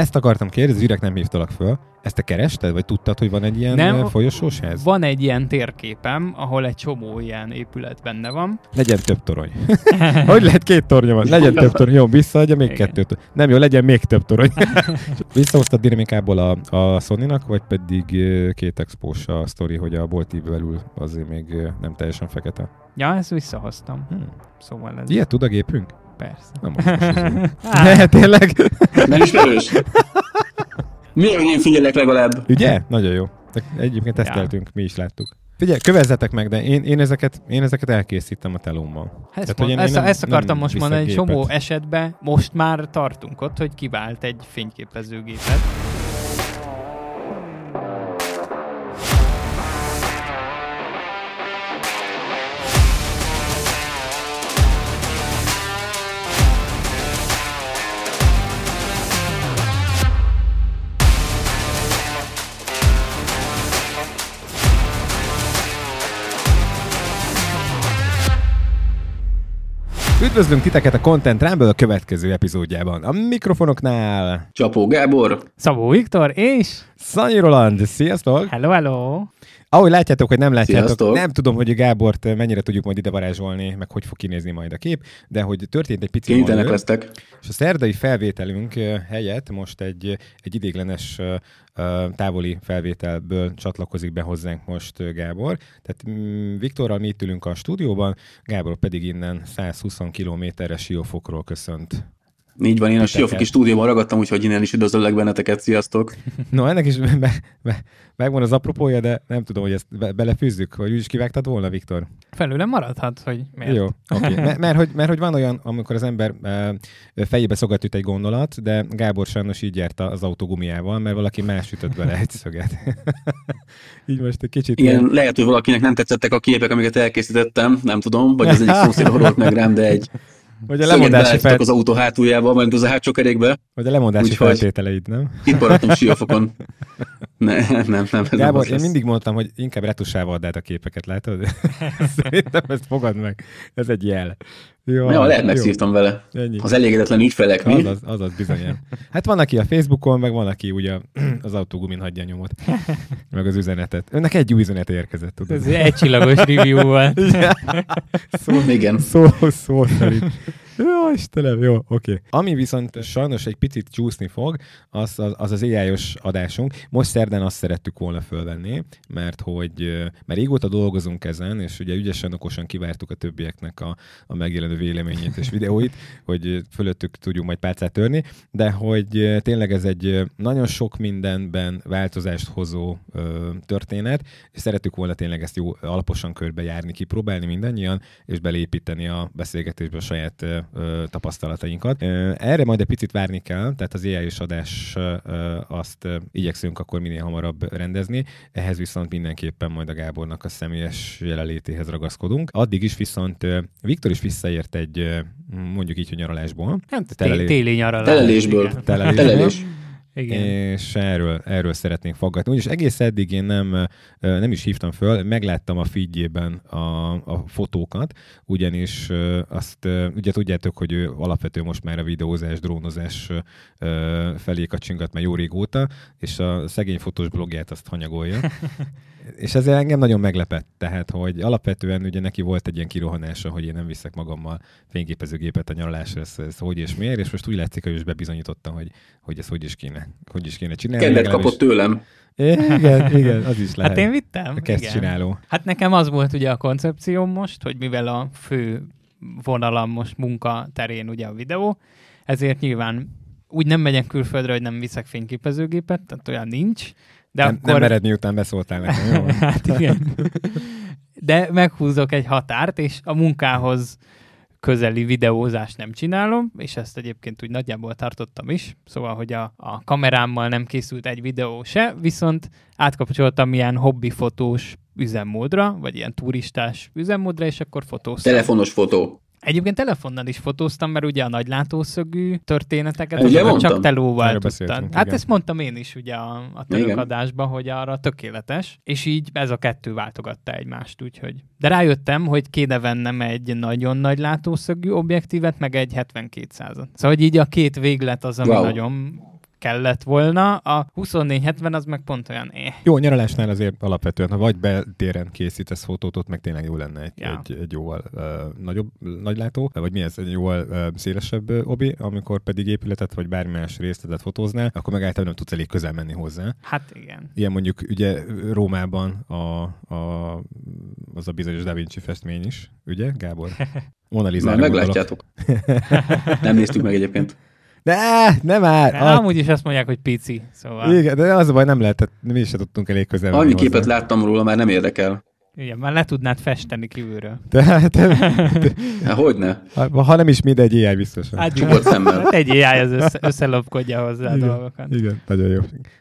Ezt akartam kérdezni, Zürek nem hívtalak föl. Ezt te kerested, vagy tudtad, hogy van egy ilyen Nem. nem, folyosós ez? Van egy ilyen térképem, ahol egy csomó ilyen épület benne van. Legyen több torony. hogy lehet két tornya van? Legyen több torony. Jó, visszaadja még Igen. kettő torony. Nem jó, legyen még több torony. Visszahoztad dinamikából a, a Sony-nak, vagy pedig ö, két expós a sztori, hogy a bolti belül azért még ö, nem teljesen fekete. Ja, ezt visszahoztam. Hmm. Szóval ez Ilyet tud a gépünk? persze. Nem most Á, Ne, tényleg? Nem ismerős? Miért én figyelek legalább? Ugye? Nagyon jó. Te- Egyébként Ja. teszteltünk, mi is láttuk. Figyelj, kövezzetek meg, de én, én, ezeket, én ezeket elkészítem a telómmal. Ezt, Tehát, mond, hogy én- én ezt, nem- ezt akartam nem most mondani, egy viszek csomó gépet. esetben most már tartunk ott, hogy kivált egy fényképezőgépet. Üdvözlünk titeket a Content Rámből a következő epizódjában. A mikrofonoknál Csapó Gábor? Szabó Viktor és... Szanyi Roland, sziasztok! Hello, hello! Ahogy látjátok, hogy nem látjátok, Sziasztok! nem tudom, hogy Gábort mennyire tudjuk majd ide varázsolni, meg hogy fog kinézni majd a kép, de hogy történt egy pici Kénytelenek manőr. lesztek. És a szerdai felvételünk eh, helyett most egy, egy idéglenes eh, eh, távoli felvételből csatlakozik be hozzánk most eh, Gábor. Tehát mm, Viktorral mi itt ülünk a stúdióban, Gábor pedig innen 120 kilométeres siófokról köszönt. Így van, én a Titeket. Siófoki stúdióban ragadtam, úgyhogy innen is üdvözöllek benneteket, sziasztok! No, ennek is me- me- me- megvan az apropója, de nem tudom, hogy ezt be- belefűzzük, vagy úgyis kivágtad volna, Viktor? Felőlem maradhat, hogy miért. Jó, oké. M- mert, hogy, mert hogy van olyan, amikor az ember e, fejébe szogat üt egy gondolat, de Gábor sajnos így járt az autógumiával, mert valaki más ütött bele egy szöget. így most egy kicsit... Igen, ilyen- lehet, hogy valakinek nem tetszettek a képek, amiket elkészítettem, nem tudom, vagy az egyik szomszéd horolt meg rám, de egy Vagy a szöget lemondási, beállítottak fel, az autó hátuljába, majd az a hátsó kerékbe. vagy a lemondási Úgyhogy- feltételeid, nem? Itt maradtam Siófokon. Ne, nem, nem, nem. ez Gábor, nem én az mindig mondtam, hogy inkább retusával add át a képeket, látod? Szerintem ezt fogad meg. Ez egy jel. Jó, lesz. Ja, lehet, jó, megszívtam vele. Ennyi. Az elégedetlen ügyfelek, mi? Azaz, azaz bizony. Hát van, aki a Facebookon, meg van, aki ugye az autógumin hagyja nyomot, meg az üzenetet. Önnek egy új üzenet érkezett, tudod? Ez egy csillagos review volt. Igen. Szó, szó szerint. Jó, Istenem, jó, oké. Okay. Ami viszont sajnos egy picit csúszni fog, az az, az, az AI-os adásunk. Most szerdán azt szerettük volna fölvenni, mert hogy ö, mert régóta dolgozunk ezen, és ugye ügyesen, okosan kivártuk a többieknek a, a megjelenő véleményét és videóit, hogy ö, fölöttük tudjunk majd pálcát törni, de hogy ö, tényleg ez egy ö, nagyon sok mindenben változást hozó ö, történet, és szerettük volna tényleg ezt jó alaposan körbejárni, kipróbálni mindannyian, és beleépíteni a beszélgetésbe a saját ö, ö, tapasztalatainkat. Ö, erre majd egy picit várni kell, tehát az ai adás ö, ö, azt ö, igyekszünk akkor minél hamarabb rendezni, ehhez viszont mindenképpen majd a Gábornak a személyes jelenlétéhez ragaszkodunk. Addig is viszont ö, Viktor is visszaért egy, ö, mondjuk így, hogy nyaralásból. Nem, Telelés. Hát té- téli nyaralás. Telelésből. Igen. Telelésből. Telelés. Igen. Hát És erről, erről szeretnénk faggatni. Úgyis egész eddig én nem, ö, nem is hívtam föl, megláttam a figyében a, a fotókat, ugyanis ö, azt ö, ugye tudjátok, hogy ő alapvető most már a videózás, drónozás ö, ö, felé kacsingat már jó régóta, és a szegény fotós blogját azt hanyagolja. És ez engem nagyon meglepett, tehát, hogy alapvetően ugye neki volt egy ilyen kirohanása, hogy én nem viszek magammal fényképezőgépet a nyaralásra, ez, ez hogy és miért, és most úgy látszik, hogy ő is bebizonyította, hogy, hogy ez hogy is kéne, hogy is kéne csinálni. Kedvet legalábbis- kapott tőlem. Igen, igen, az is lehet. Hát én vittem. Kezd igen. csináló. Hát nekem az volt ugye a koncepcióm most, hogy mivel a fő vonalam most munka terén ugye a videó, ezért nyilván úgy nem megyek külföldre, hogy nem viszek fényképezőgépet, tehát olyan nincs. De nem, akkor... nem mered, miután beszóltál nekem, jó? hát igen. De meghúzok egy határt, és a munkához közeli videózást nem csinálom, és ezt egyébként úgy nagyjából tartottam is, szóval, hogy a, a kamerámmal nem készült egy videó se, viszont átkapcsoltam ilyen hobbifotós üzemmódra, vagy ilyen turistás üzemmódra, és akkor fotóztam. Telefonos fotó. Egyébként telefonnal is fotóztam, mert ugye a nagy látószögű történeteket Ugye azokat csak mondtam? telóval Erről tudtad. beszéltünk, Hát igen. ezt mondtam én is ugye a, a Igen. török adásban, hogy arra tökéletes, és így ez a kettő váltogatta egymást, úgyhogy. De rájöttem, hogy kéne vennem egy nagyon nagy látószögű objektívet, meg egy 72 százat. Szóval hogy így a két véglet az, ami Wow. nagyon kellett volna, a 2470 az meg pont olyan eh, éh. Jó, nyaralásnál azért alapvetően, ha vagy beltéren készítesz fotót, ott meg tényleg jó lenne egy, Ja. egy, egy jóval uh, nagyobb, nagylátó, vagy mi ez, egy jóval uh, szélesebb uh, obi, amikor pedig épületet vagy bármi más részletet fotóznál, akkor meg általában nem tudsz elég közel menni hozzá. Hát igen. Ilyen mondjuk ugye Rómában a, a, az a bizonyos Da Vinci festmény is, ugye, Gábor? Mona Már Lizára gondolok. meglátjátok. Nem néztük meg egyébként. De, nem már! De A, amúgy is azt mondják, hogy pici, szóval igen. Hát- igen, de az a baj, nem lehetett, mi is se tudtunk elég közel menni Annyi képet hozzá. láttam róla, már nem érdekel. igen, már le tudnád festeni kívülről. Tehát, Hát hogyne? ha, ha nem is mindegy, AI biztosan. Hát Csukott szemmel. Hát egy AI az össze, összelopkodja hozzá a dolgokat. Igen, nagyon jó.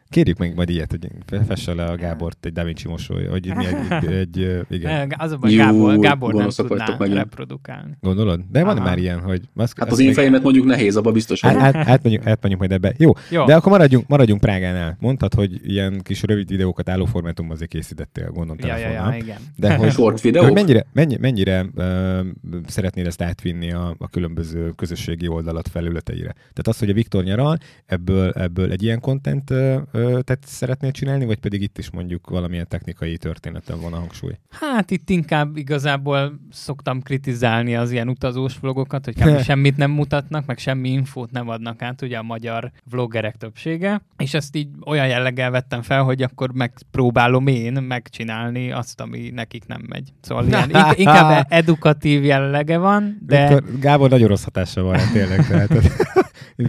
Kérjük meg majd ilyet, hogy fesse le a Gábort egy Da Vinci mosoly, vagy mi egy, egy, egy ö, igen. Ne, Eh, Az a baj, Jó, Gábor, Gábor nem gonoszok tudná vagytok megint. reprodukálni. Gondolod? De van Aha. már ilyen, hogy... Azt, Hát, Hát az én fejemet mondjuk nehéz, abba biztos Át, vagyok. át, átmegyünk, átmegyünk majd ebbe. Jó, Jó, de akkor maradjunk, maradjunk Prágánál. Mondtad, hogy ilyen kis rövid videókat álló formátumban azért készítettél, gondolom ja, ja, telefonnal. ja, igen. De hogy, Short de hogy videó? mennyire, mennyi, mennyire ö, szeretnéd ezt átvinni a, a különböző közösségi oldalat felületeire? Tehát az, hogy a Viktor nyaral, ebből, ebből egy ilyen content ö, ö, tehát szeretnél csinálni, vagy pedig itt is mondjuk valamilyen technikai történeten van a hangsúly? Hát itt inkább igazából szoktam kritizálni az ilyen utazós vlogokat, hogy kb. semmit nem mutatnak, meg semmi infót nem adnak át, ugye a magyar vloggerek többsége, és ezt így olyan jelleggel vettem fel, hogy akkor megpróbálom én megcsinálni azt, ami nekik nem megy. Szóval ilyen, ink- inkább edukatív jellege van, de... Viktor, Gábor nagyon rossz hatása van, rá, tényleg. Tehát,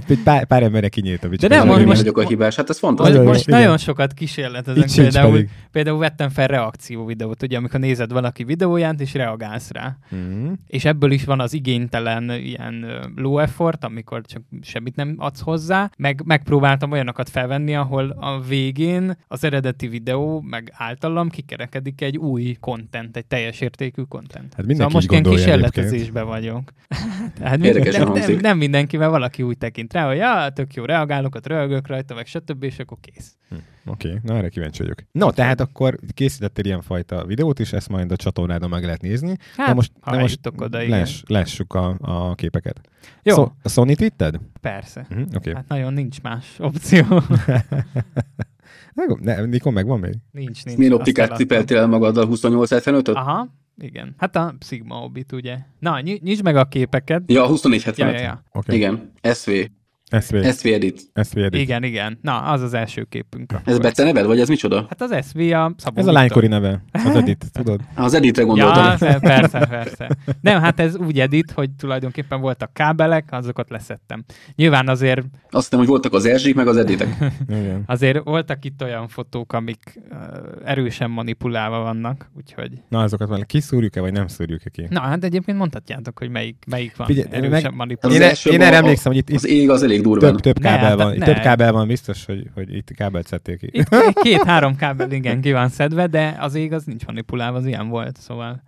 egy pár, pár emberre kinyílt a bicska. De nem, Nem, most- most vagyok a hibás, hát ez Most, Nagyon jó, fantasztikus. most igen. nagyon sokat kísérletezek, Itt sincs például, pedig. például vettem fel reakció videót, ugye, amikor nézed valaki videóját, és reagálsz rá. Mm. És ebből is van az igénytelen ilyen ö, low effort, amikor csak semmit nem adsz hozzá. Meg megpróbáltam olyanokat felvenni, ahol a végén az eredeti videó, meg általam kikerekedik egy új content, egy teljes értékű content. Szóval Hát mindenki így most ilyen gondolja kísérletezésben vagyok. Tehát Érdekesen nem, nem, hangzik. nem mindenkivel valaki úgy tekint rá, hogy ja, tök jó, reagálok, ott röhögök rajta, meg stb., és akkor kész. Oké, okay, na erre kíváncsi vagyok. No, tehát akkor készítettél ilyenfajta videót is, ezt majd a csatornádon meg lehet nézni. Hát, Na most, ha na most eljutok oda, igen. láss, lássuk a, a képeket. Jó, Szó- a Sony-t vitted? persze. Uh-huh, Oké. Hát nagyon nincs más opció. Okay. ne, Nikon megvan még? nincs, nincs. Azt Milyen Ah. optikát eladtam. cipeltél el magaddal 2875-öt? Aha, igen. Hát a Sigma Obit, ugye. Na, ny- nyisd meg a képeket. Ja, a Ja, ja, 2475. ja. Oké. Igen, SV. SV, SV Edit. SV edit. Igen, igen. Na, az az első képünk. akkor. Ez Bece neved, vagy ez micsoda? Hát az SV a Szabó Ez a Viktor. lánykori neve, az Edit, tudod? Az Editre gondoltam. Ja, persze, persze, persze. Nem, hát ez úgy edit, hogy tulajdonképpen voltak kábelek, azokat leszettem. Nyilván azért, Azt hittem, hogy voltak az Erzsik, meg az Editek. Hát Igen. azért voltak itt olyan fotók, amik ö, erősen manipulálva vannak, úgyhogy... Na, azokat már kiszúrjuk-e, vagy nem szúrjuk-e ki? Na, hát egyébként mondhatjátok, hogy melyik, melyik van Figyelj, Figyelj, meg- erősen Az manipulálva. Én, e- első én ma- erre a- emlékszem, hogy itt, Az itt ég az elég több, durván. több Ne, kábel hát van, ne. több kábel van, biztos, hogy, hogy itt kábelt szedték ki. Itt két-három kábel igen ki van szedve, de az ég az nincs manipulálva, az ilyen volt, szóval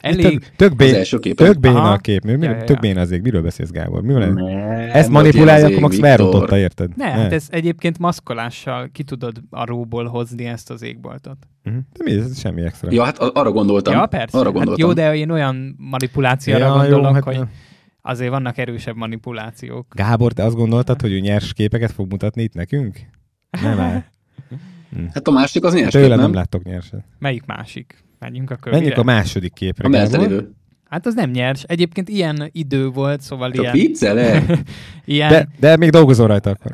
elég... Tök, tök, Az bén, első képen. tök béna a Aha. kép. Mi, mi, Ja, ja, tök ja. béna az ég. Miről beszélsz, Gábor? Mi van? Ne, Ezt volt ilyen manipulálja, az akkor ég, Max Viktor. felrontotta, érted? Ne, hát ez egyébként maszkolással ki tudod a róból hozni ezt az égboltot. Mhm. De mi ez? Semmi extra. Ja, hát a- arra gondoltam. Ja, persze. Arra hát gondoltam. jó, de én olyan manipulációra Ja, jó, gondolok, hát hogy nem. azért vannak erősebb manipulációk. Gábor, te azt gondoltad, hogy ő nyers képeket fog mutatni itt nekünk? Nem áll. Hát a másik az nyers, Tőle nem? nem, nem láttok nyerset. Melyik másik? Menjünk a kövére. Menjünk a második a képre. Gábor. melltelivő. Hát az nem nyers. Egyébként ilyen idő volt, szóval Csak ilyen, viccel -e? ilyen, De, de még dolgozol rajta akkor.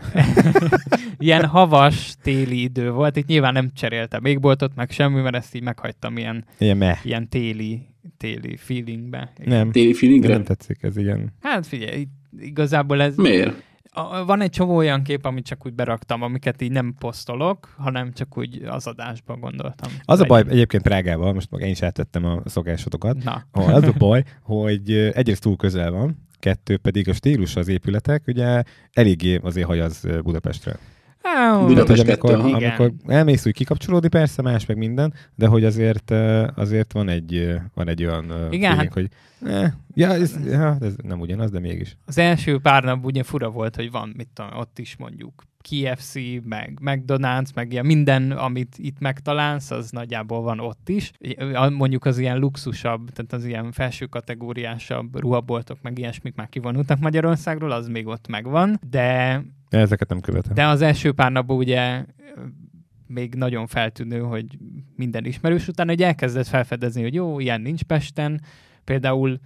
ilyen havas téli idő volt. Itt nyilván nem cseréltem égboltot, meg semmi, mert ezt így meghagytam ilyen Ilyen meh. ilyen téli, téli feelingbe. Nem. Téli Nem feelingre? tetszik, ez igen. Hát figyelj, itt igazából ez... Miért? A- a- Van egy csomó olyan kép, amit csak úgy beraktam, amiket így nem posztolok, hanem csak úgy az adásba gondoltam. Az a Vagy- baj egyébként Prágával, most meg én is átvettem a szokásotokat, Na. Ah, az a baj, hogy ö, egyrészt túl közel van, kettő pedig a stílus az épületek, ugye eléggé azért hajaz ö, Budapestre. Á, Budapest hogy amikor, kettő, aha. amikor elmész úgy kikapcsolódni, persze más, meg minden, de hogy azért, ö, azért van egy, ö, van egy olyan ö, Igen, feeling, hát- hogy eh, ja, ez, ja, ez nem ugyanaz, de mégis. Az első pár nap ugye fura volt, hogy van, mit tudom, ott is mondjuk KFC, meg McDonald's, meg ilyen minden, amit itt megtalálsz, az nagyjából van ott is. A- Mondjuk az ilyen luxusabb, tehát az ilyen felső kategóriásabb ruhaboltok, meg ilyesmik már kivonultak Magyarországról, az még ott megvan, de Ezeket nem követem. de az első pár napban ugye ö, még nagyon feltűnő, hogy minden ismerős után, hogy elkezdett felfedezni, hogy jó, ilyen nincs Pesten. Például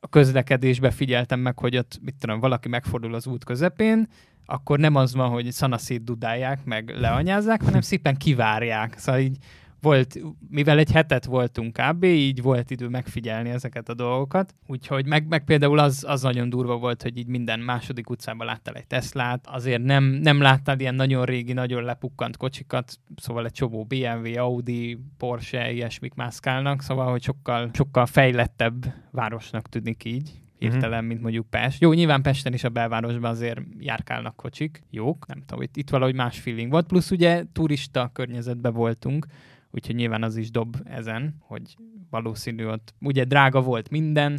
a közlekedésbe figyeltem meg, hogy ott, mit tudom, valaki megfordul az út közepén, akkor nem az van, hogy szanaszét dudálják, meg leanyázzák, hanem szépen kivárják. Szóval így volt, mivel egy hetet voltunk kb., így volt idő megfigyelni ezeket a dolgokat. Úgyhogy meg, meg például az, az nagyon durva volt, hogy így minden második utcában láttál egy Teslát, azért nem, nem láttál ilyen nagyon régi, nagyon lepukkant kocsikat, szóval egy csomó BMW, Audi, Porsche, ilyesmik mászkálnak, szóval, hogy sokkal, sokkal fejlettebb városnak tűnik így hirtelen, Mhm. mint mondjuk Pest. Jó, nyilván Pesten is a belvárosban azért járkálnak kocsik, jók, nem tudom, itt, itt valahogy más feeling volt, plusz ugye turista környezetben voltunk, úgyhogy nyilván az is dob ezen, hogy valószínű ott, ugye drága volt minden,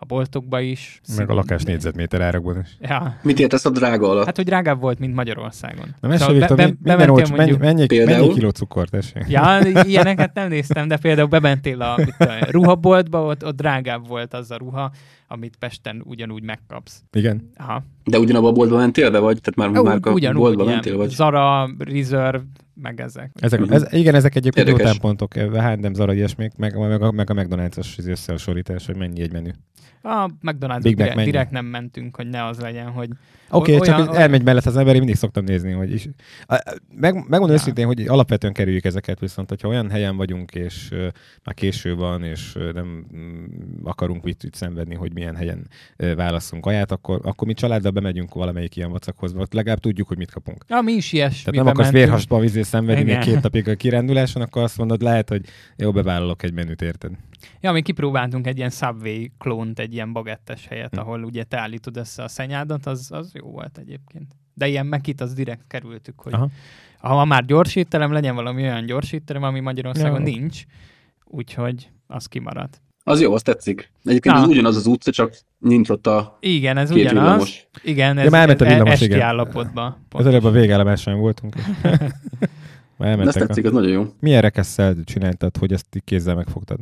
a boltokba is. Meg a Szinte- lakás négyzetméter árakban is. Ja. Mit értesz a drága alatt? Hát, hogy drágább volt, mint Magyarországon. Na mesélj, Szóval Viktor, be- mi- be- minden bementél olcsó, mennyi, mondjuk- mennyi, mennyi Például? kiló cukor, tessék? Ja, ilyeneket nem néztem, de például bementél a mit tudom én, ruhaboltba, ott, ott drágább volt az a ruha, amit Pesten ugyanúgy megkapsz. Igen. Aha. De ugyanabba a boltba mentél be, vagy? Tehát már, Ú, már a boltba ilyen mentél, vagy? Zara, Reserve, meg ezek. Ezek, Mhm. ez, igen, ezek egyébként jó Érdekes. támpontok, H&M, Zara, ilyesmik, meg, meg, a, meg a McDonald's-os izé összehasonlítás, hogy mennyi egy menü. A McDonald's Big Mac direkt, mennyi? direkt nem mentünk, hogy ne az legyen, hogy Oké, O- okay, csak olyan- olyan, elmegy mellett az ember, én mindig szoktam nézni, hogy is. A- a- Meg, megmondom Ja. ja. őszintén, hogy alapvetően kerüljük ezeket, viszont hogyha olyan helyen vagyunk, és ö, már késő van, és ö, nem mm, akarunk vitűt szenvedni, hogy milyen helyen ö, válasszunk aját, akkor, akkor mi családdal bemegyünk valamelyik ilyen vacakhoz, ott legalább tudjuk, hogy mit kapunk. ja, mi is ilyesmi. Tehát nem akarsz vérhasba vizé szenvedni még Igen. két napig a kiránduláson, akkor azt mondod, lehet, hogy jó, bevállalok egy menüt, érted? Ja, mi kipróbáltunk egy ilyen Subway klónt, egy ilyen bagettes helyet, Hm. ahol ugye te állítod össze a szenyádat, az, az jó volt egyébként. De ilyen mekit az direkt kerültük, hogy Aha. ha már gyors étterem, legyen valami olyan gyors étterem, ami Magyarországon Ja. nincs, úgyhogy az kimarad. Az jó, az tetszik. Egyébként Na. ez ugyanaz az utca, csak nincs ott a Igen, ez két ugyanaz. villamos. Igen, ez, már elment a ez villamos, esti igen. állapotba. Az Pont. előbb a végállomáson voltunk. Már De ezt elmentek. A... tetszik, az nagyon jó. Milyen rekesszel csináltad, hogy ezt így kézzel megfogtad?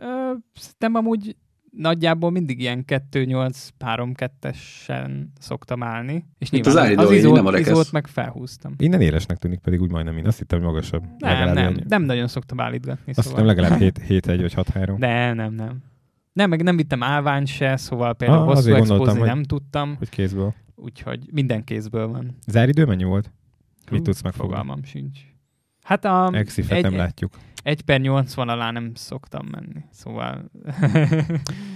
Ö, Szerintem amúgy nagyjából mindig ilyen 2-8-3-2-esen szoktam állni. És Itt nyilván az állidó, az így nem a izót, rekesz. izót meg felhúztam. Innen élesnek tűnik, pedig úgy majdnem én. Azt hittem, hogy magasabb. Nem, nem, ennyi. nem nagyon szoktam állítgatni. Azt hittem legalább 7, 7 1 vagy 6 3. Nem, nem, nem. Nem, meg nem vittem állvány se, szóval például Ah, ah, hosszú azért gondoltam, expózni hogy- nem tudtam, Hogy kézből. úgyhogy minden kézből van. Záridő mennyi volt? Mit Hú, tudsz megfogni? Hm, Fogalmam sincs. Hát a Exifet nem egy, látjuk. egy per 80 alá nem szoktam menni, szóval...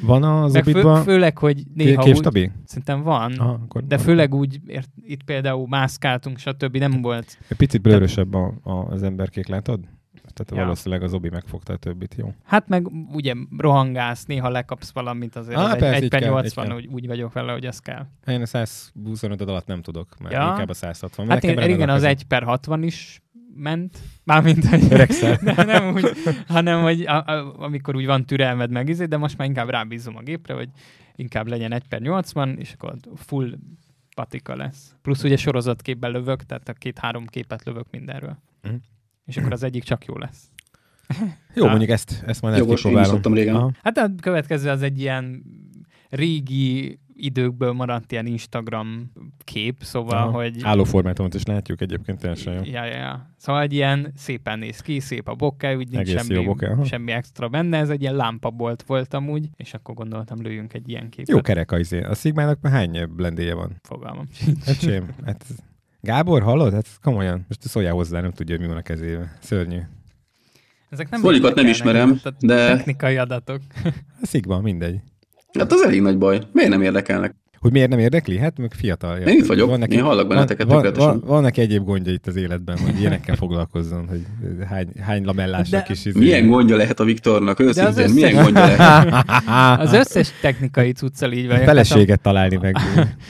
Van az Meg fő, obitban főleg, hogy ké- néha úgy, képstabi? szerintem van, Aha, akkor de van. főleg úgy, ért, itt például mászkáltunk, stb. nem volt. Picit blőrösebb a, a, az emberkék, látod? Tehát Ja. valószínűleg az obi megfogta a többit, jó? Hát meg ugye rohangálsz, néha lekapsz valamit, azért Á, az egy, persze, egy így per kell, így 80, kell. úgy, úgy vagyok vele, hogy az kell. Én a 125 alatt nem tudok, mert Ja. inkább a 160. Hát én, Nekem igen, az elakad. 1 per 60 is ment, mármint, hogy Öregszel. de nem úgy, hanem, hogy a, a, amikor úgy van türelmed meg, izé, de most már inkább rábízom a gépre, hogy inkább legyen 1 per 80, és akkor full patika lesz. Plusz ugye sorozatképben lövök, tehát a két-három képet lövök mindenről. Mhm. És akkor az egyik csak jó lesz. Jó, mondjuk ezt, ezt majd Jogos, ezt én is kipróbálom. szoktam régen. Aha. Hát a következő az egy ilyen régi időkből maradt ilyen Instagram kép, szóval, Aha. hogy... Állóformátumot is látjuk egyébként, teljesen jó. Ja, ja, ja. Szóval egy ilyen szépen néz ki, szép a bokká, úgy nincs Egész semmi, jó bokeh, aha. semmi extra benne, ez egy ilyen lámpabolt volt amúgy, és akkor gondoltam, lőjünk egy ilyen képet. Jó kerek a izé. A Szigmának már hány blendéje van? Fogalmam sincs. Öcsém, hát ez- Gábor, hallod? Hát ez komolyan. Most szóljál hozzá, nem tudja, hogy mi van a kezében. Szörnyű. Ezek nem Szolikat nem érdekelnek, ismerem, tehát de- Technikai adatok. A Szigma, mindegy. Hát az elég nagy baj. Miért nem érdekelnek? Hogy miért nem érdekli? Hát meg fiatal. Én itt vagyok, Van én hallak benneteket van, van, van, tökéletesen. van, neki egyéb gondja itt az életben, hogy ilyenekkel foglalkozzon, hogy hány, hány lamellás De- a kis izé. Milyen gondja lehet a Viktornak? az összes- Őszintén, milyen gondja lehet? Az összes technikai cuccal így vagyok. Feleséget találni meg,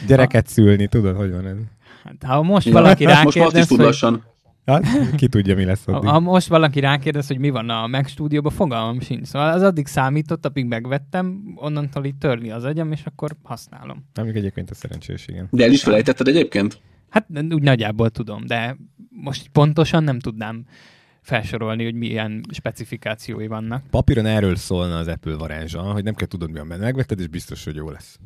gyereket szülni, tudod, hogy van ez? Hát, ha, ha most valaki Most már azt is rákérdez, tud hogy, lassan. Hát, ki tudja, mi lesz ha, addig. ha most valaki rákérdez, hogy mi van a Mac stúdióban, fogalmam sincs. Szóval az addig számított, apig megvettem, onnantól így törli az agyam, és akkor használom. Amíg egyébként a szerencsés, igen. De el is felejtetted egyébként? Hát úgy nagyjából tudom, de most pontosan nem tudnám felsorolni, hogy milyen specifikációi vannak. Papíron erről szólna az Apple varázsa, hogy nem kell tudod, mi van benne. Megvetted, és biztos, hogy jó lesz.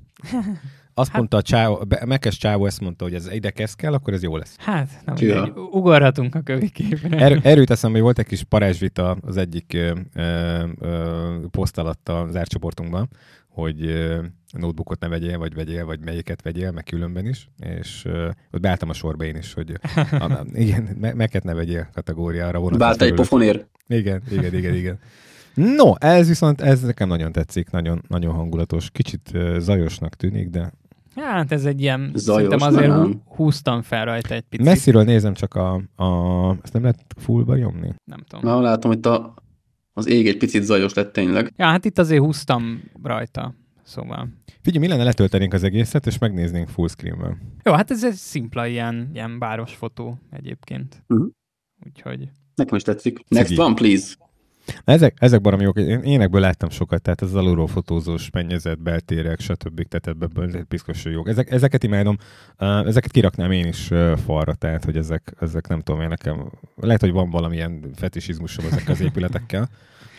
Azt mondta a csávó, Be- Mekes csávó ezt mondta, hogy ez ide kezd kell, akkor ez jó lesz. Hát, nem Tja. mindegy, ugorhatunk a köviképre. Er, erről teszem, hogy volt egy kis parázsvita az egyik ö, ö, ö, poszt alatt az árcsoportunkban, hogy ö, notebookot ne vegyél, vagy vegyél, vagy melyiket vegyél, meg különben is, és ö, ott beálltam a sorba én is, hogy a, igen, me, meket ne vegyél kategóriára vonatkozik. Bált egy belőle. pofonér. Igen, igen, igen, igen. No, ez viszont, ez nekem nagyon tetszik, nagyon, nagyon hangulatos, kicsit ö, zajosnak tűnik, de Hát ez egy ilyen, Zajos, szerintem azért nem. hú- húztam fel rajta egy picit. messziről nézem csak a, a ezt nem lehet fullba nyomni? Nem tudom. Na, látom, hogy a, az ég egy picit zajos lett tényleg. Ja, hát itt azért húztam rajta, szóval. Figyelj, mi lenne, letöltenénk az egészet, és megnéznénk full screenben. Jó, hát ez egy szimpla ilyen, ilyen város fotó egyébként. Mhm. Úgyhogy Nekem is tetszik. Next Cigi. one, please. Ezek, ezek baromi jók. Én énekből láttam sokat, tehát ez az alulról fotózós mennyezet, beltérek, stb. Tehát ebből lehet piszkos jók. Ezek, ezeket imádom, Ö, ezeket kiraknám én is ö, falra, tehát hogy ezek, ezek nem tudom én nekem, lehet, hogy van valamilyen fetisizmusom ezek az épületekkel.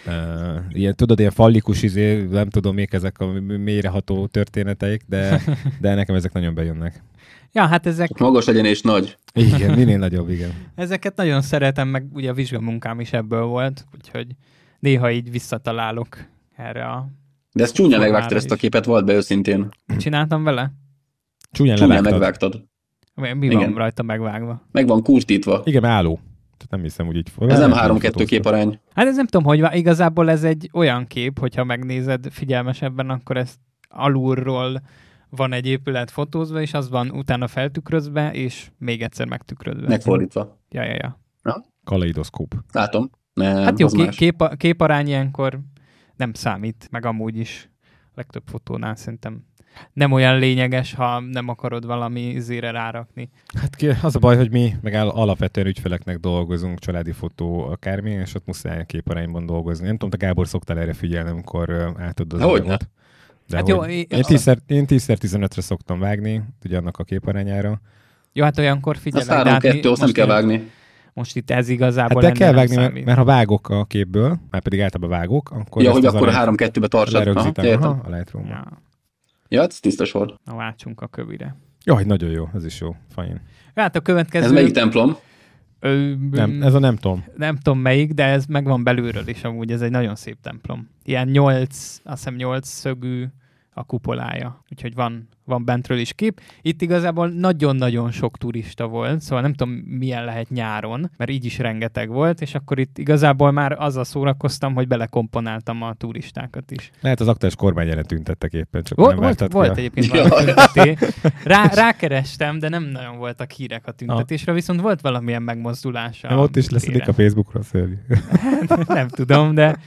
Ö, ilyen, tudod, ilyen fallikus izé, nem tudom még ezek a mélyreható történeteik, de, de nekem ezek nagyon bejönnek. Ja, hát ezek, Csak magas legyen és nagy. Igen, minél nagyobb, igen. ezeket nagyon szeretem, meg ugye a vizsgamunkám is ebből volt, úgyhogy néha így visszatalálok erre a... De ezt csúnya Formára megvágtad ezt a is. képet, volt be őszintén. Csináltam vele? Csúnyán Csúnya levágtad. megvágtad. Mi mi van Igen. rajta megvágva? Meg van kurtítva. Igen, álló. Tehát nem hiszem, hogy így... Ez nem lehet, hogy 3-2 fotóztad. képarány. Hát ez nem tudom, hogy vá- igazából ez egy olyan kép, hogyha megnézed figyelmesebben, akkor ezt alulról van egy épület fotózva, és az van utána feltükrözve, és még egyszer megtükrözve. Megfordítva. Ja, ja, ja. Kaleidoszkóp. Látom. Nem, Hát jó, az ké- más. kép, képarány ilyenkor nem számít, meg amúgy is legtöbb fotónál szerintem nem olyan lényeges, ha nem akarod valami zére rárakni. Hát ki- az a baj, hogy mi meg áll- alapvetően ügyfeleknek dolgozunk, családi fotó, akármi, és ott muszáj képarányban dolgozni. Nem tudom, te Gábor szoktál erre figyelni, amikor ö, átadod az Hogyne. anyagot. De Hát hát jó, hogy... é- Én 10 én 10-15-re szoktam vágni, ugye annak a képarányára. Jó, hát olyankor Azt figyelek. de hát 3-2, mi- azt nem most kell én- vágni. Most itt ez Hát igazából de kell ennél nem vágni, mert, számít. mert ha vágok a képből, már pedig általában vágok, akkor Ja, ezt hogy az akkor a arányt 3-2-be tartsad. Aha, lerögzítem aha, értem. a lightroom ja. Ja, Ja, hát ez tiszta sor. na váltsunk a kövire. Jaj, nagyon jó, ez is jó, fajn. Hát a következő... Ez melyik templom? ö, Nem, ez a nem tudom. nem tudom melyik, de ez megvan belülről is amúgy, ez egy nagyon szép templom. Ilyen nyolc, azt hiszem nyolc szögű a kupolája, úgyhogy van, van bentről is kép. Itt igazából nagyon-nagyon sok turista volt, szóval nem tudom milyen lehet nyáron, mert így is rengeteg volt, és akkor itt igazából már azzal szórakoztam, hogy belekomponáltam a turistákat is. Lehet az aktuális kormány ellen tüntettek éppen, csak Volt, nem volt, váltad volt ki a- egyébként Ja. valami tünteté. Rá, rákerestem, de nem nagyon voltak hírek a tüntetésre, viszont volt valamilyen megmozdulás. a Nem, ott is leszedik téren. a Facebookra, szörnyű. nem tudom, de,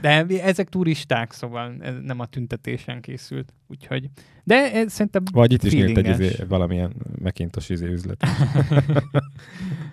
de mi- ezek turisták, szóval ez nem a tüntetésen készült, úgyhogy. De ez szerintem Vagy itt is nyílt egy feelinges. izé, valamilyen mekintos izé üzlet.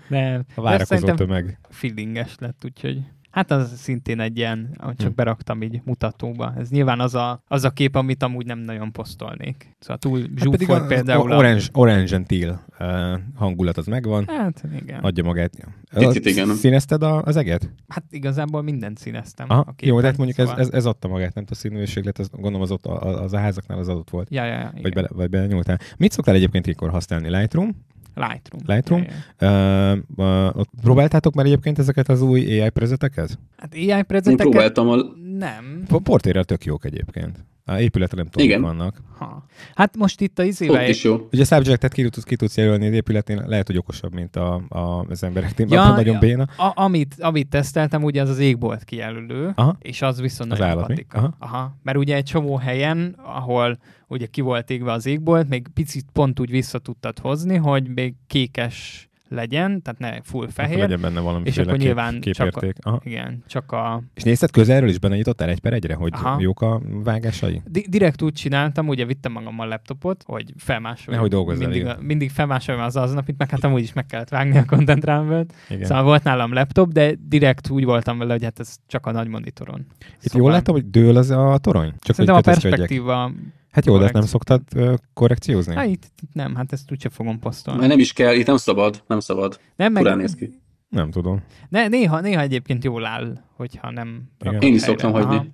De A de várakozó szerintem tömeg. feelinges lett, úgyhogy Hát az szintén egy ilyen, ahogy Hm. csak beraktam így mutatóba. Ez nyilván az a, az a kép, amit amúgy nem nagyon posztolnék. Szóval túl zsúfolt hát például. o- orange, orange and teal uh, hangulat az megvan. A... Hát igen. Adja magát. Picit igen. Színezted a, az eget? Hát igazából mindent színeztem. Aha, a képen, jó, tehát mondjuk ez, szóval- ez, ez adta magát, nem a színűséglet, ez, gondolom az ott a, a- az a házaknál az adott volt. Ja, ja, ja, igen. Vagy, bele, vagy belenyúltál. Mit szoktál egyébként ilyenkor használni? Lightroom? Lightroom. Lightroom? Ja, ja. Uh, uh, ott próbáltátok már egyébként ezeket az új AI prezeteket? Hát AI Én prezeteket próbáltam a... nem. Po- Portérrel tök jók egyébként. A épületre nem tudom, Igen. mik vannak. Ha. Hát most itt a Ott izével... is jó. Ugye a subjectet ki tudsz, ki tudsz jelölni az épületnél, lehet, hogy okosabb, mint a, a, az embereknél, Ja, ja, nagyon ja. béna. A, amit, amit teszteltem, ugye az az égbolt kijelölő, Aha. és az viszont Az nagyon állami. patika. Aha. Aha. Mert ugye egy csomó helyen, ahol ugye ki volt égve az égbolt, még picit pont úgy vissza tudtad hozni, hogy még kékes legyen, tehát ne full Fehér, fehér. legyen benne valami és akkor nyilván csak a- képérték. Aha. Igen, csak a... És nézted közelről is, benne nyitottál egy per egyre, hogy Aha. Aha. jók a vágásai? Di- direkt úgy csináltam, ugye vittem magammal laptopot, hogy felmásoljam. Nehogy dolgozzál, mindig, igen. a- mindig felmásoljam az aznapit, meg hát amúgy is meg kellett vágni a Content Rumble-t. Igen. Szóval volt nálam laptop, de direkt úgy voltam vele, hogy hát ez csak a nagy monitoron. Itt jól látom, hogy dől az a torony? Csak Szerintem a hogy kötözködjek. perspektíva Hát jó, de ezt nem Korrekció. szoktad ö, korrekciózni? Hát itt itt nem, hát ezt úgyse fogom posztolni. Mert nem is kell, itt nem szabad, nem szabad. Nem, Furán néz ki. Nem tudom. Ne, néha, néha egyébként jól áll, hogyha nem. rakod Én is helyre. szoktam Aha. hagyni.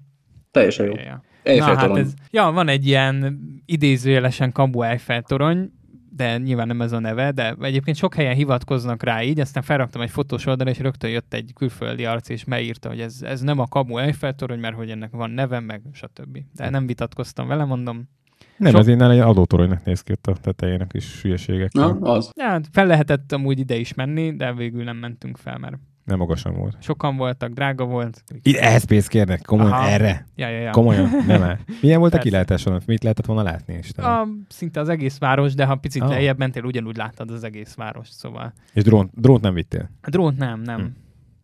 Teljesen jó. Ja, ja. Na, hát Eiffel-torony. ez, ja, van egy ilyen idézőjelesen kamu Eiffel torony, de nyilván nem ez a neve, de egyébként sok helyen hivatkoznak rá így, aztán felraktam egy fotós oldalra, és rögtön jött egy külföldi arc, és megírta, hogy ez, ez nem a kamu Eiffel torony, mert hogy ennek van neve, meg stb. De nem vitatkoztam vele, mondom. Nem, Sok- ez innen egy adótoronynak néz ki ott a tetejének is hülyeségekkel. Na, az. Ja, hát fel lehetett amúgy ide is menni, de végül nem mentünk fel, mert Nem magasan volt. sokan voltak, drága volt. Itt ehhez pénzt kérnek, komolyan, Aha. erre. Ja, ja, ja. Komolyan, nem el. Milyen volt a Persze. kilátáson? Mit lehetett volna látni Istenem? A, szinte az egész város, de ha picit Ah. oh. lejjebb mentél, ugyanúgy láttad az egész város, szóval. És drón, drónt nem vittél? A drónt nem, nem. Hm.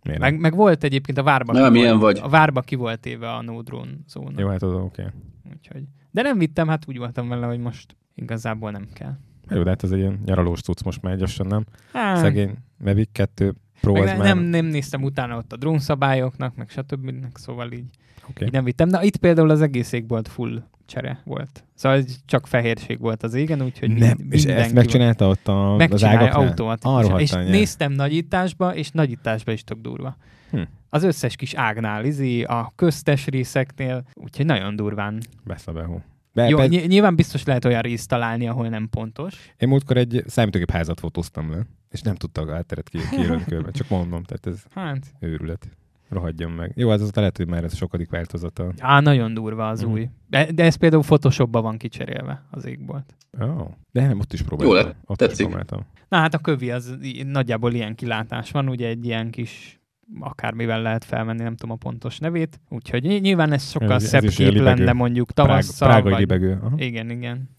Miért nem? Meg, meg volt egyébként a várba. Nem, ki ilyen volt, vagy. A várba ki volt éve a no drone zóna. Jó, hát az oké. Okay. Úgyhogy. De nem vittem, hát úgy voltam vele, hogy most igazából nem kell. Jó, de hát ez egy ilyen nyaralós cucc most már gyorsan, nem? Hát, Szegény Mavic 2 Pro Meg az ne- már... nem, nem néztem utána ott a drón szabályoknak, meg stb. Szóval így, Oké. így nem vittem. Na itt például az egész égbolt full csere volt. Szóval ez csak fehérség volt az égen, úgyhogy nem. mind- És ezt mindenki megcsinálta ott a, az megcsinálja ágaknál? Arra automatikusan. És hatán, néztem nagyításba, és nagyításba is tök durva. Hm. Az összes kis ágnál, izi, a köztes részeknél, úgyhogy nagyon durván. Beszabehó. Be, Jó, Jó, ny- nyilván biztos lehet olyan részt találni, ahol nem pontos. Én múltkor egy számítógép házat fotóztam le, és nem tudtak átteret ki- kijelölni körben. Csak mondom, tehát ez Hát, őrület. Rohadjon meg. Jó, hát az azóta lehet, hogy már ez a sokadik változata. á, nagyon durva az Mhm. új. De, de ez például Photoshopban van kicserélve az égbolt. Oh. De nem, ott is próbáltam. Jó lett, ott Is tetszik. próbáltam. Na hát a kövi az í- nagyjából ilyen kilátás van, ugye egy ilyen kis akármivel lehet felmenni, nem tudom a pontos nevét. Úgyhogy ny- nyilván ez sokkal Ez- ez, ez szebb is ilyen kép libegő. lenne mondjuk Prág, tavasszal. prágai vagy... libegő. Aha. Igen, igen.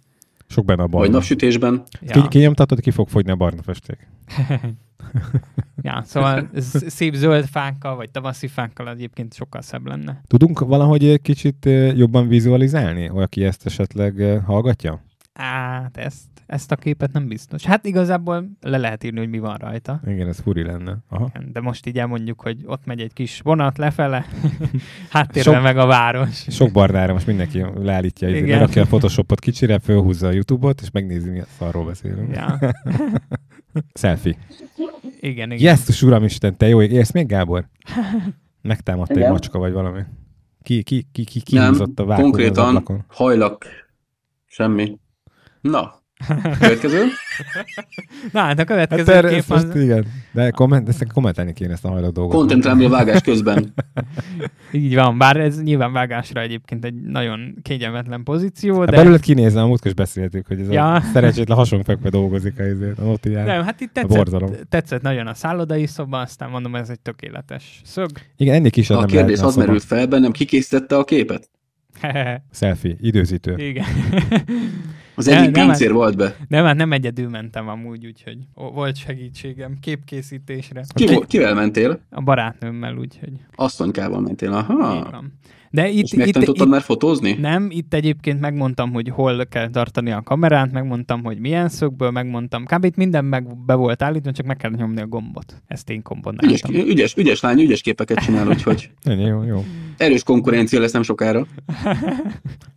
Sok benne a barna. Vagy napsütésben. Ki, kinyomtatod, ki fog fogyni a barna festék. ja, szóval ez szép zöld fákkal, vagy tavaszi fákkal egyébként sokkal szebb lenne. Tudunk valahogy egy kicsit eh, jobban vizualizálni, olyan, aki ezt esetleg eh, hallgatja? Hát ezt, ezt a képet nem biztos. Hát igazából le lehet írni, hogy mi van rajta. Igen, ez furi lenne. Aha. De most így elmondjuk, hogy ott megy egy kis vonat lefele, háttérben Sok- meg a város. Sok barnára most mindenki leállítja, Igen. mert aki a Photoshopot kicsire, fölhúzza a YouTube-ot, és megnézi, mi arról beszélünk. Ja. Selfie. Igen, igen. Jesszus uram Isten, te jó ég. Érsz még, Gábor? Megtámadta egy Igen. macska, vagy valami. Ki, ki, ki, ki, ki Nem, húzott a vákon az konkrétan ablakon? hajlak. Semmi. Na, következő. Na, hát a Hát következő erre, kép ezt az... most igen, de komment, ezt kommentelni kéne ezt a hajlott dolgot. Kontemplálni a vágás közben. Így van, bár ez nyilván vágásra egyébként egy nagyon kényelmetlen pozíció, Hát de... Belőled kinézne, a múltkor is beszéltük, hogy ez ja. Ja. a szerencsétlen hasonfekve dolgozik a izért, a ott ilyen. Nem, hát itt A tetszett, borzalom. tetszett nagyon a szállodai szoba, aztán mondom, ez egy tökéletes szög. Igen, ennyi kisebb A nem kérdés lehetne az szoba. merült fel bennem, ki készítette a képet? Selfie, időzítő. Igen. Az Nem, egyik nem, pincér volt be. nem, hát nem egyedül mentem amúgy, úgyhogy o- volt segítségem képkészítésre. Ki, Egy- vo- kivel mentél? A barátnőmmel, úgyhogy Asszonykával mentél. Ah. így Aha. van. De itt, És itt, megtanultad itt, már fotózni? nem, itt egyébként megmondtam, hogy hol kell tartani a kamerát, megmondtam, hogy milyen szögből, megmondtam. Kb. itt minden meg be volt állítva, csak meg kell nyomni a gombot. Ezt én Ügyes, kombináltam. ügyes, ügyes lány, ügyes képeket csinál, úgyhogy Ennyi, jó, jó. erős konkurencia lesz nem sokára.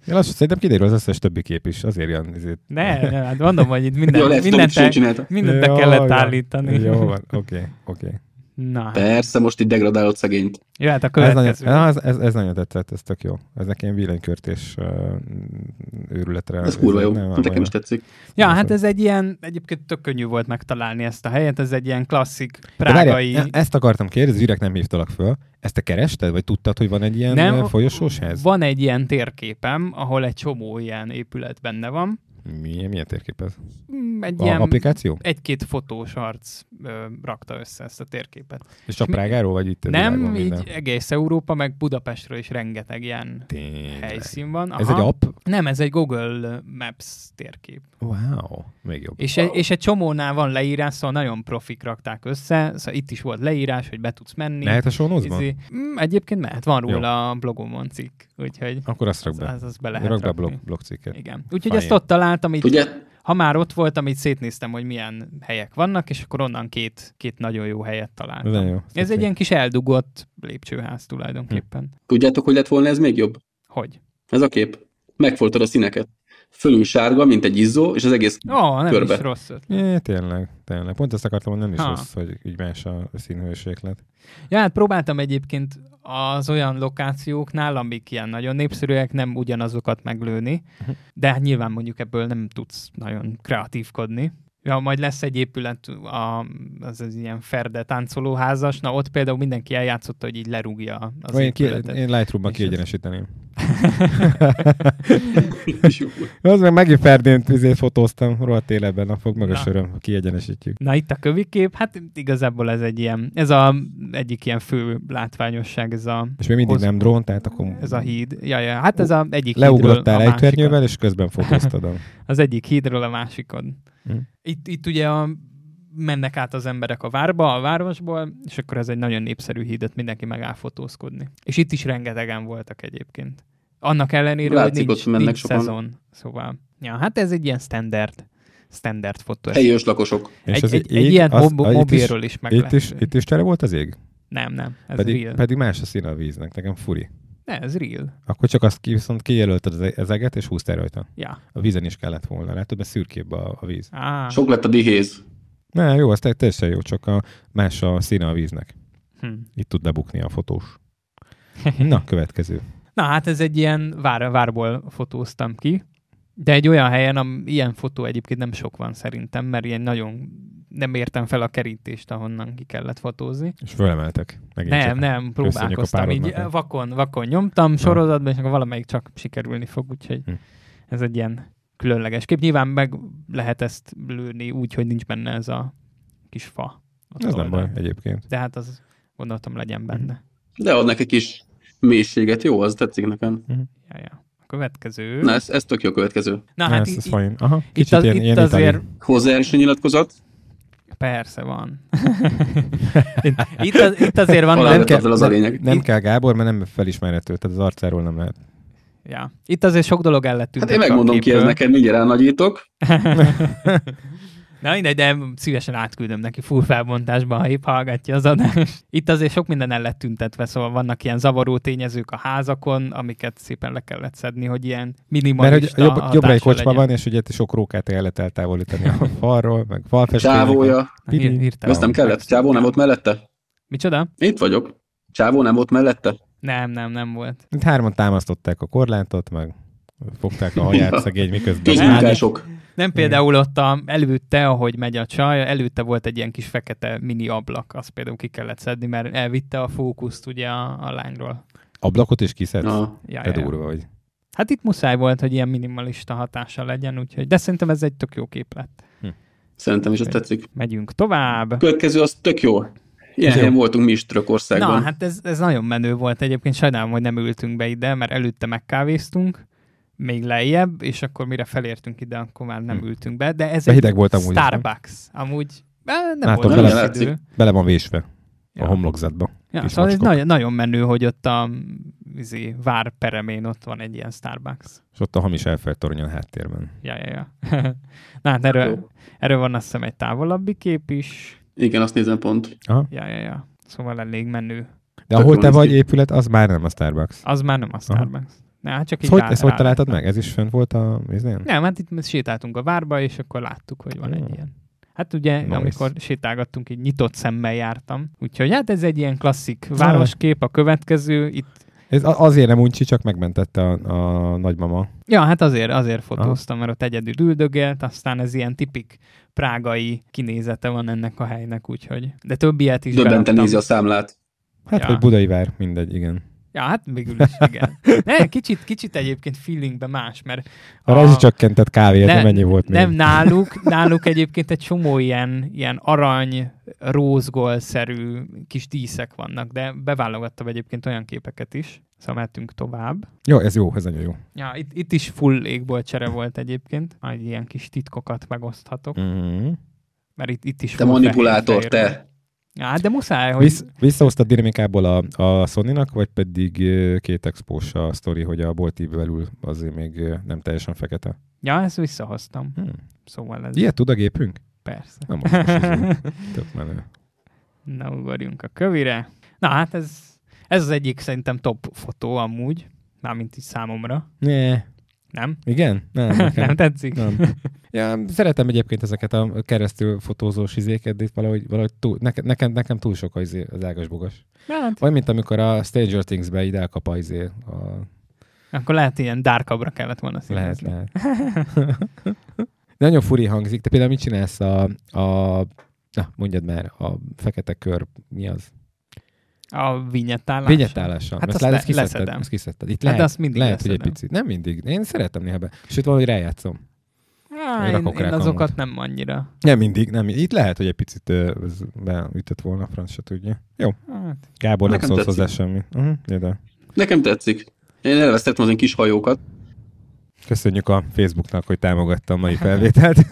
Én azt szerintem kiderül az összes többi kép is, azért ilyen ezért. Ne, ne, hát mondom, hogy itt Jó, minden, lehet, tudom, mindent, sem el, csinálta. mindent be Jaj, kellett jaj. állítani. Jó van, oké, oké. Na, Persze, most itt degradálod szegényt. jó, hát a Ez nagyon- Ah, következő. Ez, ez, ez nagyon tetszett, ez tök jó. Ez nekem villanykörtés uh, őrületre. Ez kurva jó. Hát nem, Nekem is tetszik. Ja, Szóval- hát ez egy ilyen, egyébként tök könnyű volt megtalálni ezt a helyet, ez egy ilyen klasszik De prágai... várjál, e- ezt akartam kérdezni, üreg nem hívtalak föl. Ezt te kerested, vagy tudtad, hogy van egy ilyen Nem, nem, folyosós ház? Van egy ilyen térképem, ahol egy csomó ilyen épület benne van. Milyen, milyen térkép ez? Mm, Egy Ilyen... ilyen, A applikáció? egy-két fotós arc ö, rakta össze ezt a térképet. És csak mi- Prágáról, vagy itt? a világon Nem, így minden? egész Európa, meg Budapestről is rengeteg ilyen Tényleg. helyszín van. Ez egy app? Nem, ez egy Google Maps térkép. Wow, még jobb. És, egy, és egy csomónál van leírás, szóval nagyon profik rakták össze, szóval itt is volt leírás, hogy be tudsz menni. Lehet a sonozban? Izé- Mm, egyébként mehet, van róla a blogomon cikk, úgyhogy Akkor azt rak az, be. az, az be lehet Rak be a rakni. blog, blogcikket. Igen. Úgyhogy Ha ezt ilyen. ott találtam, így, Ugye? ha már ott voltam, így szétnéztem, hogy milyen helyek vannak, és akkor onnan két, két nagyon jó helyet Ez találtam. nagyon jó. Ez egy ilyen kis eldugott lépcsőház Hm. tulajdonképpen. Tudjátok, hogy lett volna ez még jobb? Hogy? Ez a kép. Megfoltad a színeket. fölül sárga, mint egy izzó, és az egész Ó, oh, nem körbe. is rossz ötlet. É, tényleg, tényleg. Pont ezt akartam mondani, nem is Ha. rossz, hogy így más a színhőséklet. Ja, hát próbáltam egyébként az olyan lokációknál, amik ilyen nagyon népszerűek, nem ugyanazokat meglőni, de hát nyilván mondjuk ebből nem tudsz nagyon kreatívkodni. Ja, majd lesz egy épület, a, az, az ilyen ferde táncolóházas, na ott például mindenki eljátszotta, hogy így lerúgja az Az én, ki, épületet. én Lightroom-ban És ez- kiegyenesíteném. kis jó. Az meg megint Ferdint izét fotóztam, rohadt életben, na fog meg a Na. söröm, ha kiegyenesítjük. Na itt a kövi kép, hát igazából ez egy ilyen, ez a egyik ilyen fő látványosság, ez a, És még mindig Hoz- nem drón, tehát akkor ez a híd. Ja, ja, hát ez a egyik leugrottál hídről a egy másikra. vernyővel, és közben fotóztad. a- az egyik hídról a másikon. Hm. Itt, itt ugye a, mennek át az emberek a várba, a városból, és akkor ez egy nagyon népszerű hídet, mindenki megáll fotózkodni. És itt is rengetegen voltak egyébként. Annak ellenére, Látszik, hogy nincs, ott mennek nincs sokan. szezon. Szóval, ja, hát ez egy ilyen standard, standard fotó. Helyi őslakosok. És Egy, az egy, így- egy ilyet az- mob, a- itt is- mobilról is, meg Itt lehet is, lőni. itt is csere volt az ég? Nem, nem, ez Pedig, real. pedig más a szín a víznek, nekem furi. Ne, ez real. Akkor csak azt ki, viszont kijelölted az e- az eget, és húztál rajta. Ja. Ah. A vízen is kellett volna, látod, mert szürkébb a, a víz. Á, Sok lett a dihéz. Na jó, az te- teljesen jó, csak a más a színe a víznek. hm. Itt tud lebukni a fotós. Na, következő. Na hát ez egy ilyen vár, várból fotóztam ki, de egy olyan helyen, am, ilyen fotó egyébként nem sok van szerintem, mert ilyen nagyon nem értem fel a kerítést, ahonnan ki kellett fotózni. És fölemeltek. Megint nem, csak. nem, próbálkoztam. Így párodnak. vakon, vakon nyomtam sorozatban, és akkor valamelyik csak sikerülni fog, úgyhogy Hm. ez egy ilyen különleges kép. Nyilván meg lehet ezt lőni úgy, hogy nincs benne ez a kis fa. ott Ez nem oldalt. baj Hm. egyébként. De hát az gondoltam legyen benne. De ad neki kis mélységet. Jó, az tetszik nekem. Ja, ja. A következő. Na, ez, ez tök jó következő. Na hát ez, í- ez fajn. Aha, Itt, kicsit az, ilyen, itt ilyen azért itali. Hozzájárulási nyilatkozat. Hát persze van. itt, itt az, itt azért van, nem Alá- Nem Azzal kell, az a lényeg. nem kell Gábor, mert nem felismerhető, tehát az arcáról nem lehet. ja. itt azért sok dolog el lett Hát tüntetve én a megmondom ki ez képből. neked, mindjárt elnagyítok. Na mindegy, de szívesen átküldöm neki full felbontásban, ha épp hallgatja az adást. Itt azért sok minden el lett tüntetve, szóval vannak ilyen zavaró tényezők a házakon, amiket szépen le kellett szedni, hogy ilyen Mert minimalista hogy jobb, jobbra egy hatása kocsma legyen. van, és ugye itt sok rókát el lehet eltávolítani a falról, meg falfestményeket. Csávója. Na, hír- Pidi. hirtelen. Ezt nem kellett? Csávó nem volt mellette? Micsoda? Itt vagyok. Csávó nem volt mellette? Nem, nem, nem volt. Itt hárman támasztották a korlátot, meg fogták a haját szegény, miközben. Kézmunkás. Kézmunkások. Nem például ott a, előtte, ahogy megy a csaj, előtte volt egy ilyen kis fekete mini ablak, azt például ki kellett szedni, mert elvitte a fókuszt ugye a, a lányról. Ablakot is kiszedsz. Ah, Ja, Te ja, ja. durva vagy. Hát itt muszáj volt, hogy ilyen minimalista hatása legyen, úgyhogy, de szerintem ez egy tök jó kép lett. szerintem is ez tetszik. Megyünk tovább. Következő az tök jó. Ilyen Jó. helyen voltunk mi is Na, Törökországban. hát ez, ez nagyon menő volt egyébként, sajnálom, hogy nem ültünk be ide, mert előtte megkávéztunk, még lejjebb, és akkor mire felértünk ide, akkor már nem Hm. ültünk be, de ez De egy hideg volt amúgy is, nem? Starbucks. Amúgy eh, nem Látom, volt bele- rossz idő. Bele van vésve a Ja. homlokzatba. Ja, kis szóval ez macskok. nagyon, nagyon menő, hogy ott a izé, vár peremén ott van egy ilyen Starbucks. És ott a hamis Eiffel torony a háttérben. Ja, ja, ja. Na hát erről, Jó. erről van azt hiszem egy távolabbi kép is. Igen, azt nézem pont. Ja, ja, ja. Szóval elég menő. De Tök ahol jól te néz vagy ki. épület, az már nem a Starbucks. Az már nem a Starbucks. Na, hát csak így Ezt hogy, rá- ezt hogy rá- találtad meg? Ez is fent volt a víznél? Nem, hát itt mi sétáltunk a várba, és akkor láttuk, hogy van egy Jó. ilyen. Hát ugye, Nice. amikor sétálgattunk, így nyitott szemmel jártam. Úgyhogy hát ez egy ilyen klasszik városkép, a következő. Itt, Ez a- azért nem uncsi, csak megmentette a, a nagymama. ja, hát azért, azért fotóztam, mert ott egyedül üldögélt, aztán ez ilyen tipik prágai kinézete van ennek a helynek, úgyhogy. De több ilyet is Döbbenten beraktam. nézi a számlát. Hát, Ja. ja. hogy Budai vár, mindegy, igen. Ja, hát végül is, igen. Ne, kicsit, kicsit egyébként feelingbe más, mert A rezsicsökkentett kávéért Ne- nem ennyi volt Nem, még. náluk, náluk egyébként egy csomó ilyen, ilyen arany, rózgolszerű kis díszek vannak, de beválogattam egyébként olyan képeket is, szóval mehetünk tovább. Jó, ez jó, ez nagyon jó. Ja, itt, itt is full égboltcsere volt egyébként, majd ilyen kis titkokat megoszthatok, Mm-hmm. mert itt, itt is Te full manipulátor, fehér- fehér volt. te. Ja, hát de muszáj, hogy... Visz, visszahoztad dinamikából a, a Sony-nak, vagy pedig ö, két expós a sztori, hogy a bolti belül azért még ö, nem teljesen fekete? Ja, ezt visszahoztam, Hmm. szóval ez Ilyet tud a gépünk? persze. Nem most is ez tök menő. Na, ugorjunk a kövire. Na, hát ez, ez az egyik szerintem top fotó amúgy, mármint így számomra. Ne. Nem? Igen? Nem, nekem Nem tetszik? Nem. Ja, szeretem egyébként ezeket a keresztül fotózós izéket, de itt valahogy, valahogy túl, neke, nekem, nekem túl sok az, izé- az ágas bogas. Hát, Vagy mint amikor a Stranger Things-be ide elkap a izé. A... akkor lehet ilyen dárkabbra kellett volna Lehet, színezni. lehet. Nagyon furi hangzik. Te például mit csinálsz a, a Na, mondjad már, a fekete kör mi az? A vinyettálás. Vinyettálással. Hát Hát azt ezt, le- ezt, kiszedted, leszedem. ezt kiszedted. Itt Hát lehet, azt mindig lehet hogy egy leszedem. picit. Nem mindig. Én szeretem néha be. Sőt, valahogy rájátszom. Á, Én én, rakok én rá azokat kamut. nem annyira. Nem mindig, nem. Itt lehet, hogy egy picit ö, ez beütött volna, a franc se tudja. Jó, Hát, Gábor nem Nekem szólsz tetszik. hozzá semmi. Uh-huh, de. Nekem tetszik. Én elvesztettem az én kis hajókat. Köszönjük a Facebooknak, hogy támogatta a mai felvételt.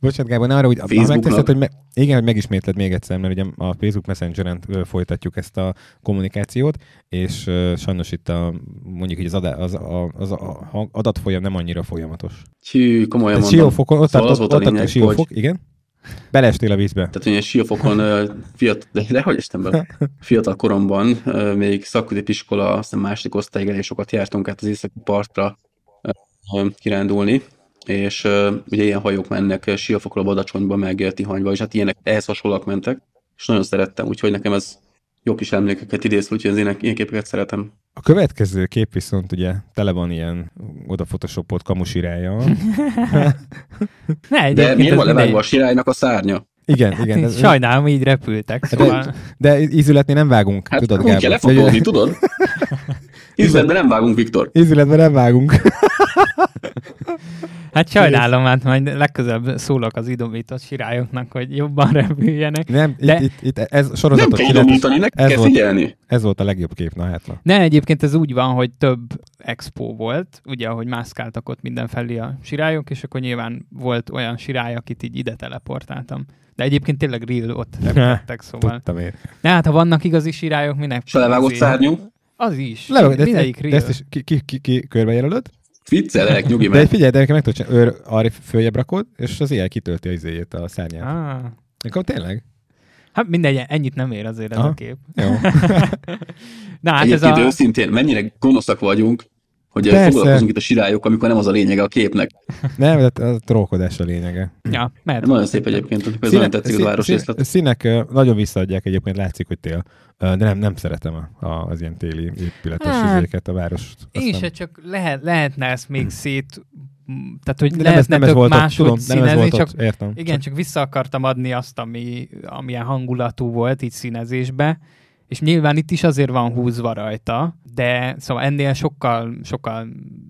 Bocsánat, Gábor, ne arra, hogy ha Facebooknak? megteszed, hogy me- igen, hogy megismétled még egyszer, mert ugye a Facebook Messengeren ö, folytatjuk ezt a kommunikációt, és ö, sajnos itt a, mondjuk így az, adá, az, a, az a hang- adatfolyam nem annyira folyamatos. Hű, komolyan Tehát mondom. siófokon, ott Szóval az tartott, volt ott a tartott a lényeg, siófok, igen. Belestél a vízbe. Tehát, hogy ilyen siófokon ö, fiatal, de, de hogy estem be? Fiatal koromban, ö, még szakközépiskola, azt hiszem második osztályig elég sokat jártunk át az északi partra ö, ö, kirándulni, és ö, ugye ilyen hajók mennek ö, siófokra, Badacsonyba, meg ö, Tihanyba, és hát ilyenek ehhez hasonlóak mentek, és nagyon szerettem, úgyhogy nekem ez jó kis emlékeket idéz, úgyhogy az én ilyen képeket szeretem. A következő kép viszont ugye tele van ilyen odafotosopott kamusirája. ne, De egyébként miért ez van levágva a mindegy. sirálynak a szárnya? Igen, Hát igen. igen, ez- Hát sajnálom, így repültek. Szóval, De ízületnél nem vágunk, Hát tudod, Tudod, úgy Gábor. kell Hogy- lefotózni, tudod? Üzletben nem vágunk, Viktor. Ízületben nem vágunk. hát sajnálom, hát majd legközelebb szólok az idomított sirályoknak, hogy jobban repüljenek. Nem, itt, De- itt, itt, ez Nem sorozatot kell csinált, idomítani, neki Ez kell volt. figyelni. ez volt a legjobb kép, na hát na. Ne, egyébként ez úgy van, hogy több expo volt, ugye, ahogy mászkáltak ott mindenfelé a sirályok, és akkor nyilván volt olyan sirály, akit így ide teleportáltam. De egyébként tényleg real ott repültek, szóval. Tudtam én. De hát, ha vannak igazi sirályok, minek? És a levágott Azért. szárnyú. Az is. Le, de, Mindegyik ezt, de real. ezt is ki, ki, ki, ki körbejelölöd, Viccelek, nyugi de meg. figyelj, de nekem meg tudod csinálni, őr arra följebb rakod, és az ilyen kitölti az izéjét, a szárnyát. Ah. Ah, Akkor tényleg? hát mindegy, ennyit nem ér azért ez Aha. a kép. Jó. Na, hát ez Egyébként a... őszintén, mennyire gonoszak vagyunk, hogy eh, Persze. foglalkozunk itt a sirályok, amikor nem az a lényege a képnek. nem, de a trókodás a lényege. Ja, mehet. Nagyon szép egyébként, amikor ez nagyon tetszik az szín- városrészlet. színek ö, nagyon visszaadják egyébként, látszik, hogy tél. Ö, De nem, nem szeretem a, a, az ilyen téli épületes Hát, izéket, a várost. Azt Én nem- se csak lehet, lehetne ezt még szét... m, Tehát, hogy De lehetne nem ez, nem ez tök volt ott, máshogy tudom, nem ez színezni, volt csak ott, értem. Igen, csak vissza akartam adni azt, ami, amilyen hangulatú volt így színezésbe, és nyilván itt is azért van húzva rajta, de szóval ennél sokkal, sokkal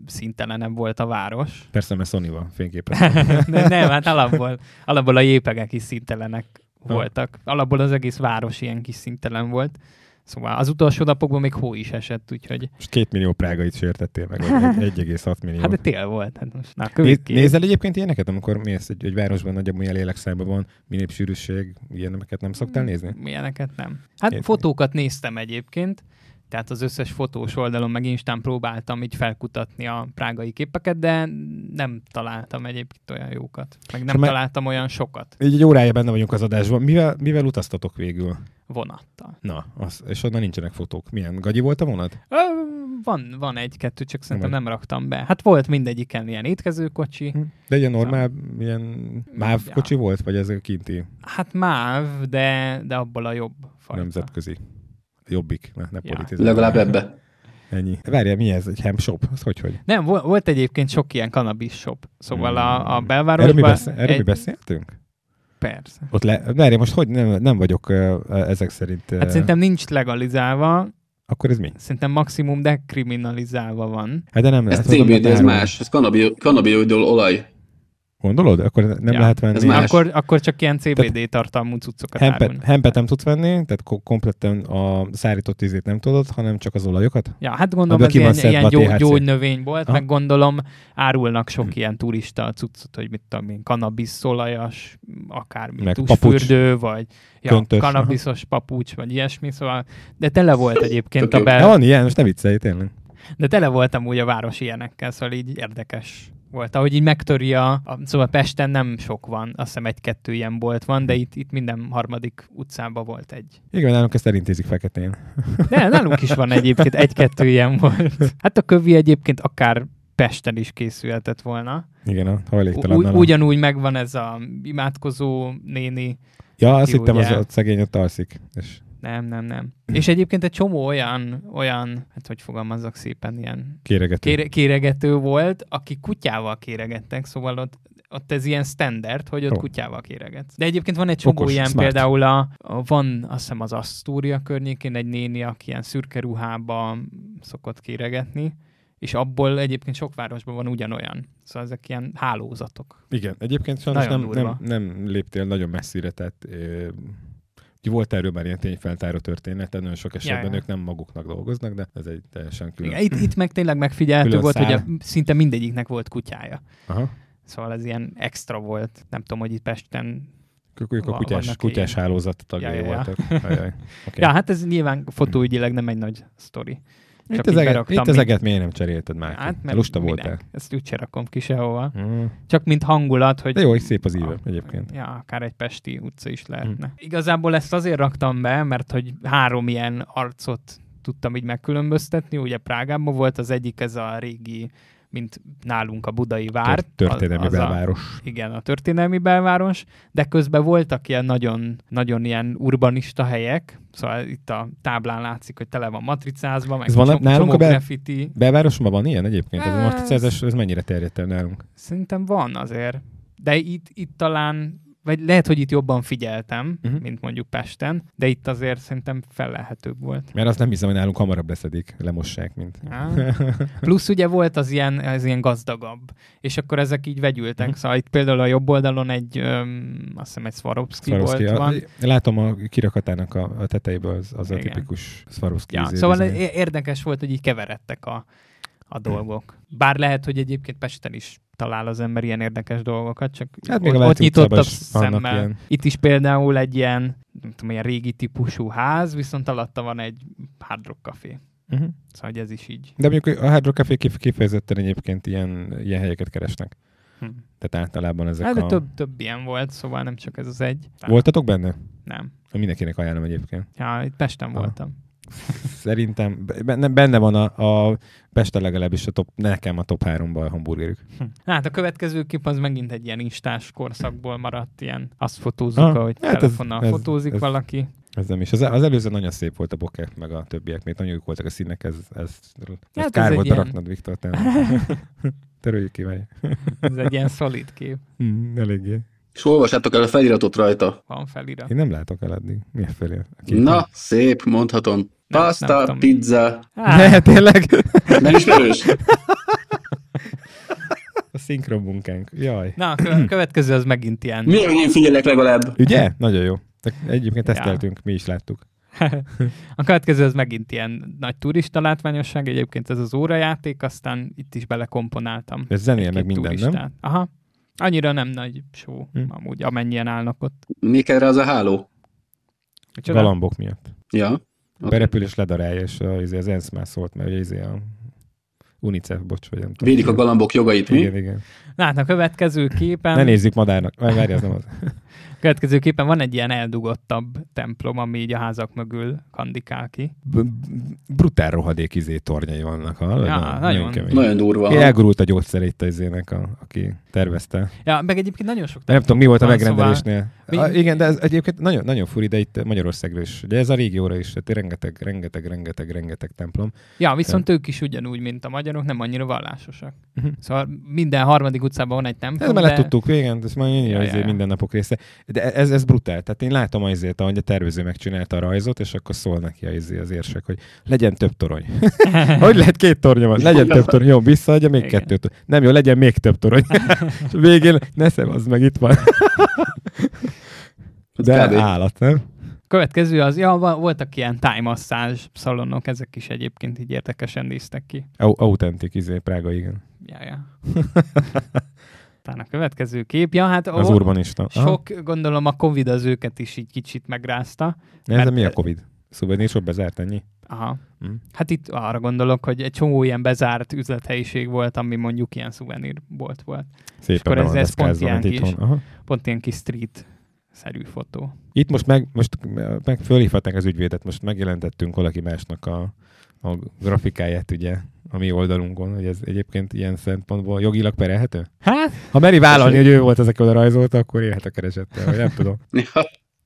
szintelenebb volt a város. Persze, mert Sony van fényképen. De nem, hát alapból, alapból a jépegek is szintelenek voltak. Alapból az egész város ilyen kis szintelen volt. Szóval az utolsó napokban még hó is esett, úgyhogy Most két millió prágait sértettél meg, vagy egy- 1,6 millió. hát de tél volt. Hát most, na, Néz, kövéd ki. nézel egyébként ilyeneket, amikor mész egy, egy városban nagyobb ilyen lélekszámban van, minél sűrűség, ilyeneket nem szoktál Hmm. nézni? Milyeneket nem. Hát Értem. fotókat néztem egyébként, tehát az összes fotós oldalon meg Instán próbáltam így felkutatni a prágai képeket, de nem találtam egyébként olyan jókat. Meg nem Szóval- találtam olyan sokat Így egy órája benne vagyunk az adásban. Mivel, mivel utaztatok végül? vonattal. Na, az, és onnan nincsenek fotók. Milyen? Gagyi volt a vonat? Ö, van, van egy-kettő, csak szerintem Vagy. nem raktam be. Hát volt mindegyiken ilyen étkezőkocsi, Hm. De ilyen normál, ilyen máv Szóval- Ja. kocsi volt, vagy ez a kinti hát máv, de, de abból a jobb fajta. nemzetközi? Jobbik, ne, ne Ja. politizálj. Legalább ebbe. Ennyi. Várjál, mi ez? Egy hemp shop? Az hogy, hogy? Nem, vo- volt egyébként sok ilyen cannabis shop. Szóval a, a Hmm. Erről mi, belvárosban... beszél, erről mi beszéltünk? Persze. Ott le, várj, most hogy nem, nem vagyok ö, ö, ezek szerint. ö, Hát szerintem nincs legalizálva, Akkor ez mi? szerintem maximum dekriminalizálva van. Hát de nem Ez lehet. tudom, CBD, de ez áron. más. Ez kannabi- kannabioidol olaj. Gondolod? Akkor nem Ja, ja, lehet venni. Hát ez már- Más. Akkor, akkor csak ilyen CBD tartalmú cuccokat Hempet, árulnak. hempet nem tudsz venni, tehát ko- kompletten a szárított ízét nem tudod, hanem csak az olajokat. Ja, hát gondolom Abból ez ki van ilyen, szedve ilyen a gyó, THC. gyógynövény volt, Aha. Hm. meg gondolom árulnak sok ilyen turista cuccot, hogy mit tudom én, kannabisz, olajas, akármi, Meg tusfürdő, vagy ja, Köntös, aha. kannabiszos papucs, vagy ilyesmi, szóval, de tele volt egyébként Tök a jó. Hát bel, van ilyen, most ne viccelj, tényleg. De tele voltam úgy a város ilyenekkel, szóval így érdekes volt. Ahogy így megtöri a, a szóval Pesten nem sok van, azt hiszem egy-kettő ilyen bolt van, de itt, itt minden harmadik utcában volt egy. Igen, nálunk ezt elintézik feketén. De nálunk is van egyébként egy-kettő ilyen volt. Hát a kövi egyébként akár Pesten is készülhetett volna. Igen, a hajléktalan. U- alap. ugyanúgy megvan ez a imádkozó néni. ja, azt aki hittem, az ugye- a szegény ott alszik. És Nem, nem, nem. És egyébként egy csomó olyan, olyan, hát hogy fogalmazzak szépen, ilyen kéregető. kére- kéregető volt, aki kutyával kéregettek, szóval ott, ott ez ilyen standard, hogy ott Jó. kutyával kéreget. De egyébként van egy csomó Okos, ilyen, smart. például a, a, van azt hiszem az Asztúria környékén egy néni, aki ilyen szürke ruhában szokott kéregetni, és abból egyébként sok városban van ugyanolyan. Szóval ezek ilyen hálózatok. Igen, egyébként sajnos Nagyon nem, nem, durva. nem léptél nagyon messzire, tehát ö, ugye volt erről már ilyen tényfeltáró történet, tehát nagyon sok esetben ja. ők nem maguknak dolgoznak, de ez egy teljesen külön. Igen, itt, itt meg tényleg megfigyelhető Külön volt, hogy a, szál. szinte mindegyiknek volt kutyája. Aha. Szóval ez ilyen extra volt. Nem tudom, hogy itt Pesten Ők, ők a Va- kutyás, vannak kutyás ilyen. hálózat tagjai Ja, ja, ja. voltak. Ajaj. Okay. Ja, hát ez nyilván fotóügyileg nem egy nagy sztori. itt, csak az így eget, beraktam, itt az mint- eget miért nem cserélted már? Hát, mert Lusta minek? voltál. Ezt úgy se rakom ki sehova. Mm. Csak mint hangulat, hogy... Ah, De jó, hogy szép az íve Hm. egyébként. Ja, akár egy pesti utca is lehetne. Igazából ezt azért raktam be, mert hogy három ilyen arcot tudtam így megkülönböztetni. Ugye Prágában volt az egyik, ez a régi, mint nálunk a budai vár. Tört- Történelmi Az- az a- belváros. igen, a történelmi belváros, de közben voltak ilyen nagyon, nagyon ilyen urbanista helyek, szóval itt a táblán látszik, hogy tele van matricázva, meg Ez van csom- nálunk csomó a bel- graffiti. Belvárosban van ilyen egyébként? Ez a Ez- marticázás, ez mennyire terjedt el nálunk? Szerintem van azért, de itt, itt talán, vagy lehet, hogy itt jobban figyeltem, Mhm. uh-huh. mint mondjuk Pesten, de itt azért szerintem fellelhetőbb volt. Mert azt nem hiszem, hogy nálunk hamarabb leszedik, lemossák, mint... Á. Plusz ugye volt az ilyen, az ilyen gazdagabb, és akkor ezek így vegyültek. Mhm. Szóval itt például a jobb oldalon egy, öm, azt hiszem egy Swarovski, Swarovski. volt. Van. A, látom a kirakatának a, a tetejéből, az, az a Igen. tipikus Swarovski. Ja, izé- szóval izé. é- érdekes volt, hogy így keveredtek a, a dolgok. Bár lehet, hogy egyébként Pesten is talál az ember ilyen érdekes dolgokat, csak Hát hát még még a ott, Váci ott utcában nyitottabb is vannak szemmel. ilyen. Ilyen. Itt is például egy ilyen, nem tudom, ilyen régi típusú ház, viszont alatta van egy hard rock café. Mhm. Szóval hogy ez is így. De mondjuk a Hard Rock Café kif- kifejezetten egyébként ilyen, ilyen helyeket keresnek. Hm. Tehát általában ezek Hát de a... több, több ilyen volt, szóval nem csak ez az egy. Voltatok benne? Nem. Mindenkinek ajánlom egyébként. Ja, itt Pesten Aha. voltam. Szerintem benne, benne van a, a Pesten legalábbis a top, nekem a top 3-ban a hamburgerük. Hm. Na, Hát a következő kép az megint egy ilyen instás korszakból maradt, ilyen azt fotózzuk, Ah, ahogy hát ez- telefonnal ez- fotózik ez- valaki. Ez nem is. Az, az előző nagyon szép volt a bokeh, meg a többiek. Még nagyon jók voltak a színek, ez, ez, ez Hát, ez kár egy volt ilyen- beraknod, Viktor. te- Töröljük ki, vagy. Ez egy ilyen szolid kép. Mm, eléggé. És olvassátok el a feliratot rajta. Van felirat. Én nem látok el addig. Miért felé? A képen. Na, szép, mondhatom. nem Pasta, tudom. pizza. Á, Ne, tényleg? Nem ismerős? A szinkron munkánk. Jaj. na, a kö- következő az megint ilyen. Miért Mm-hmm. én figyelek legalább? Ugye? Nagyon jó. Te- Egyébként Ja. teszteltünk, mi is láttuk. A következő az megint ilyen nagy turista látványosság, egyébként ez az órajáték, aztán itt is belekomponáltam. Ez zenél meg Két minden, nem? turistát. Aha. Annyira nem nagy show, Hm. hm. amúgy, amennyien állnak ott. Mi kell rá az a háló? Micsoda? Galambok miatt. Ja. A berepülés ledarálja, és a- izé az ENSZ már szólt, mert ugye izé a UNICEF, bocs, vagy nem tudom. Védik a galambok jogait, mi? Igen, igen. Na hát a következő képen, Ne nézzük madárnak. Várj, várj, az nem az. a következő képen van egy ilyen eldugottabb templom, ami így a házak mögül kandikál ki. B- brutál rohadék izé tornyai vannak. Hallod? Ja, Na, nagyon. kemény. Nagyon durva. Én Elgurult a gyógyszerét az izének, a, aki tervezte. Ja, meg egyébként nagyon sok De nem tudom, mi volt a Van, megrendelésnél. Mi- Szóval... igen, de ez egyébként nagyon, nagyon furi, de itt Magyarországról is. Ugye ez a régióra is, tehát rengeteg, rengeteg, rengeteg, rengeteg templom. Ja, viszont ők is ugyanúgy, mint a magyarok, nem annyira vallásosak. Mhm. Uh-huh. Szóval minden harmadik utcában van egy Ez templom, mellett de tudtuk, igen, ez már ja, Ja, ja, ja, ja. mindennapok része. De ez, ez brutál. Tehát én látom azért, ahogy a tervező megcsinálta a rajzot, és akkor szól neki az, az érsek, hogy legyen több torony. hogy lehet két tornya van? Legyen több torony. Jó, visszaadja még Igen. kettőt. Nem jó, legyen még több torony. és a végén ne az meg itt van. De Hát kb. állat, nem? következő az, ja, va- voltak ilyen tájmasszázs szalonok, ezek is egyébként így érdekesen néztek ki. Au- Autentik, izé, Prága, igen. Ja, ja. Talán a következő kép, ja, hát Az ó, urbanista. Aha. sok, gondolom a Covid az őket is így kicsit megrázta. Ne, ez Mert- mi a Covid? Szóval nincs ott bezárt ennyi? Aha. Mm. Hát itt arra gondolok, hogy egy csomó ilyen bezárt üzlethelyiség volt, ami mondjuk ilyen szuvenírbolt volt. Szépen akkor be ez- van ez pont deszkázva, mint ilyen itthon. kis- Aha. Pont ilyen kis street szerű fotó. Itt most meg, most meg fölhívhatnánk az ügyvédet, most megjelentettünk valaki másnak a, a grafikáját, ugye, a mi oldalunkon, hogy ez egyébként ilyen szempontból jogilag perelhető? Hát, Ha meri vállalni, hogy ő volt az, aki oda rajzolta, akkor élhet a keresettel, vagy nem tudom.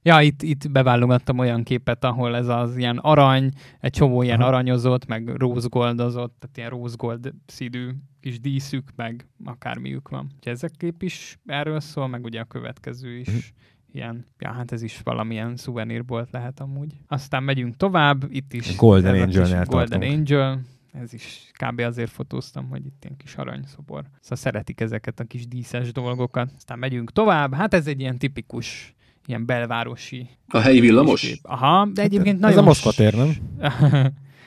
Ja, ja, itt, itt beválogattam olyan képet, ahol ez az ilyen arany, egy csomó ilyen Aha. aranyozott, meg rózgoldozott, tehát ilyen rózgold színű kis díszük, meg akármiük van. Úgyhogy ez a kép is erről szól, meg ugye a következő Mhm. is ilyen, ja, hát ez is valamilyen szuvenírbolt lehet amúgy. Aztán megyünk tovább, itt is Golden ez a kis Angelnél Golden tartunk. Angel, ez is kb. azért fotóztam, hogy itt ilyen kis aranyszobor. Szóval szeretik ezeket a kis díszes dolgokat. Aztán megyünk tovább, hát ez egy ilyen tipikus ilyen belvárosi a helyi kis villamos? kép. Aha, de egyébként ez nagyon... a Moszkva s- tér, nem?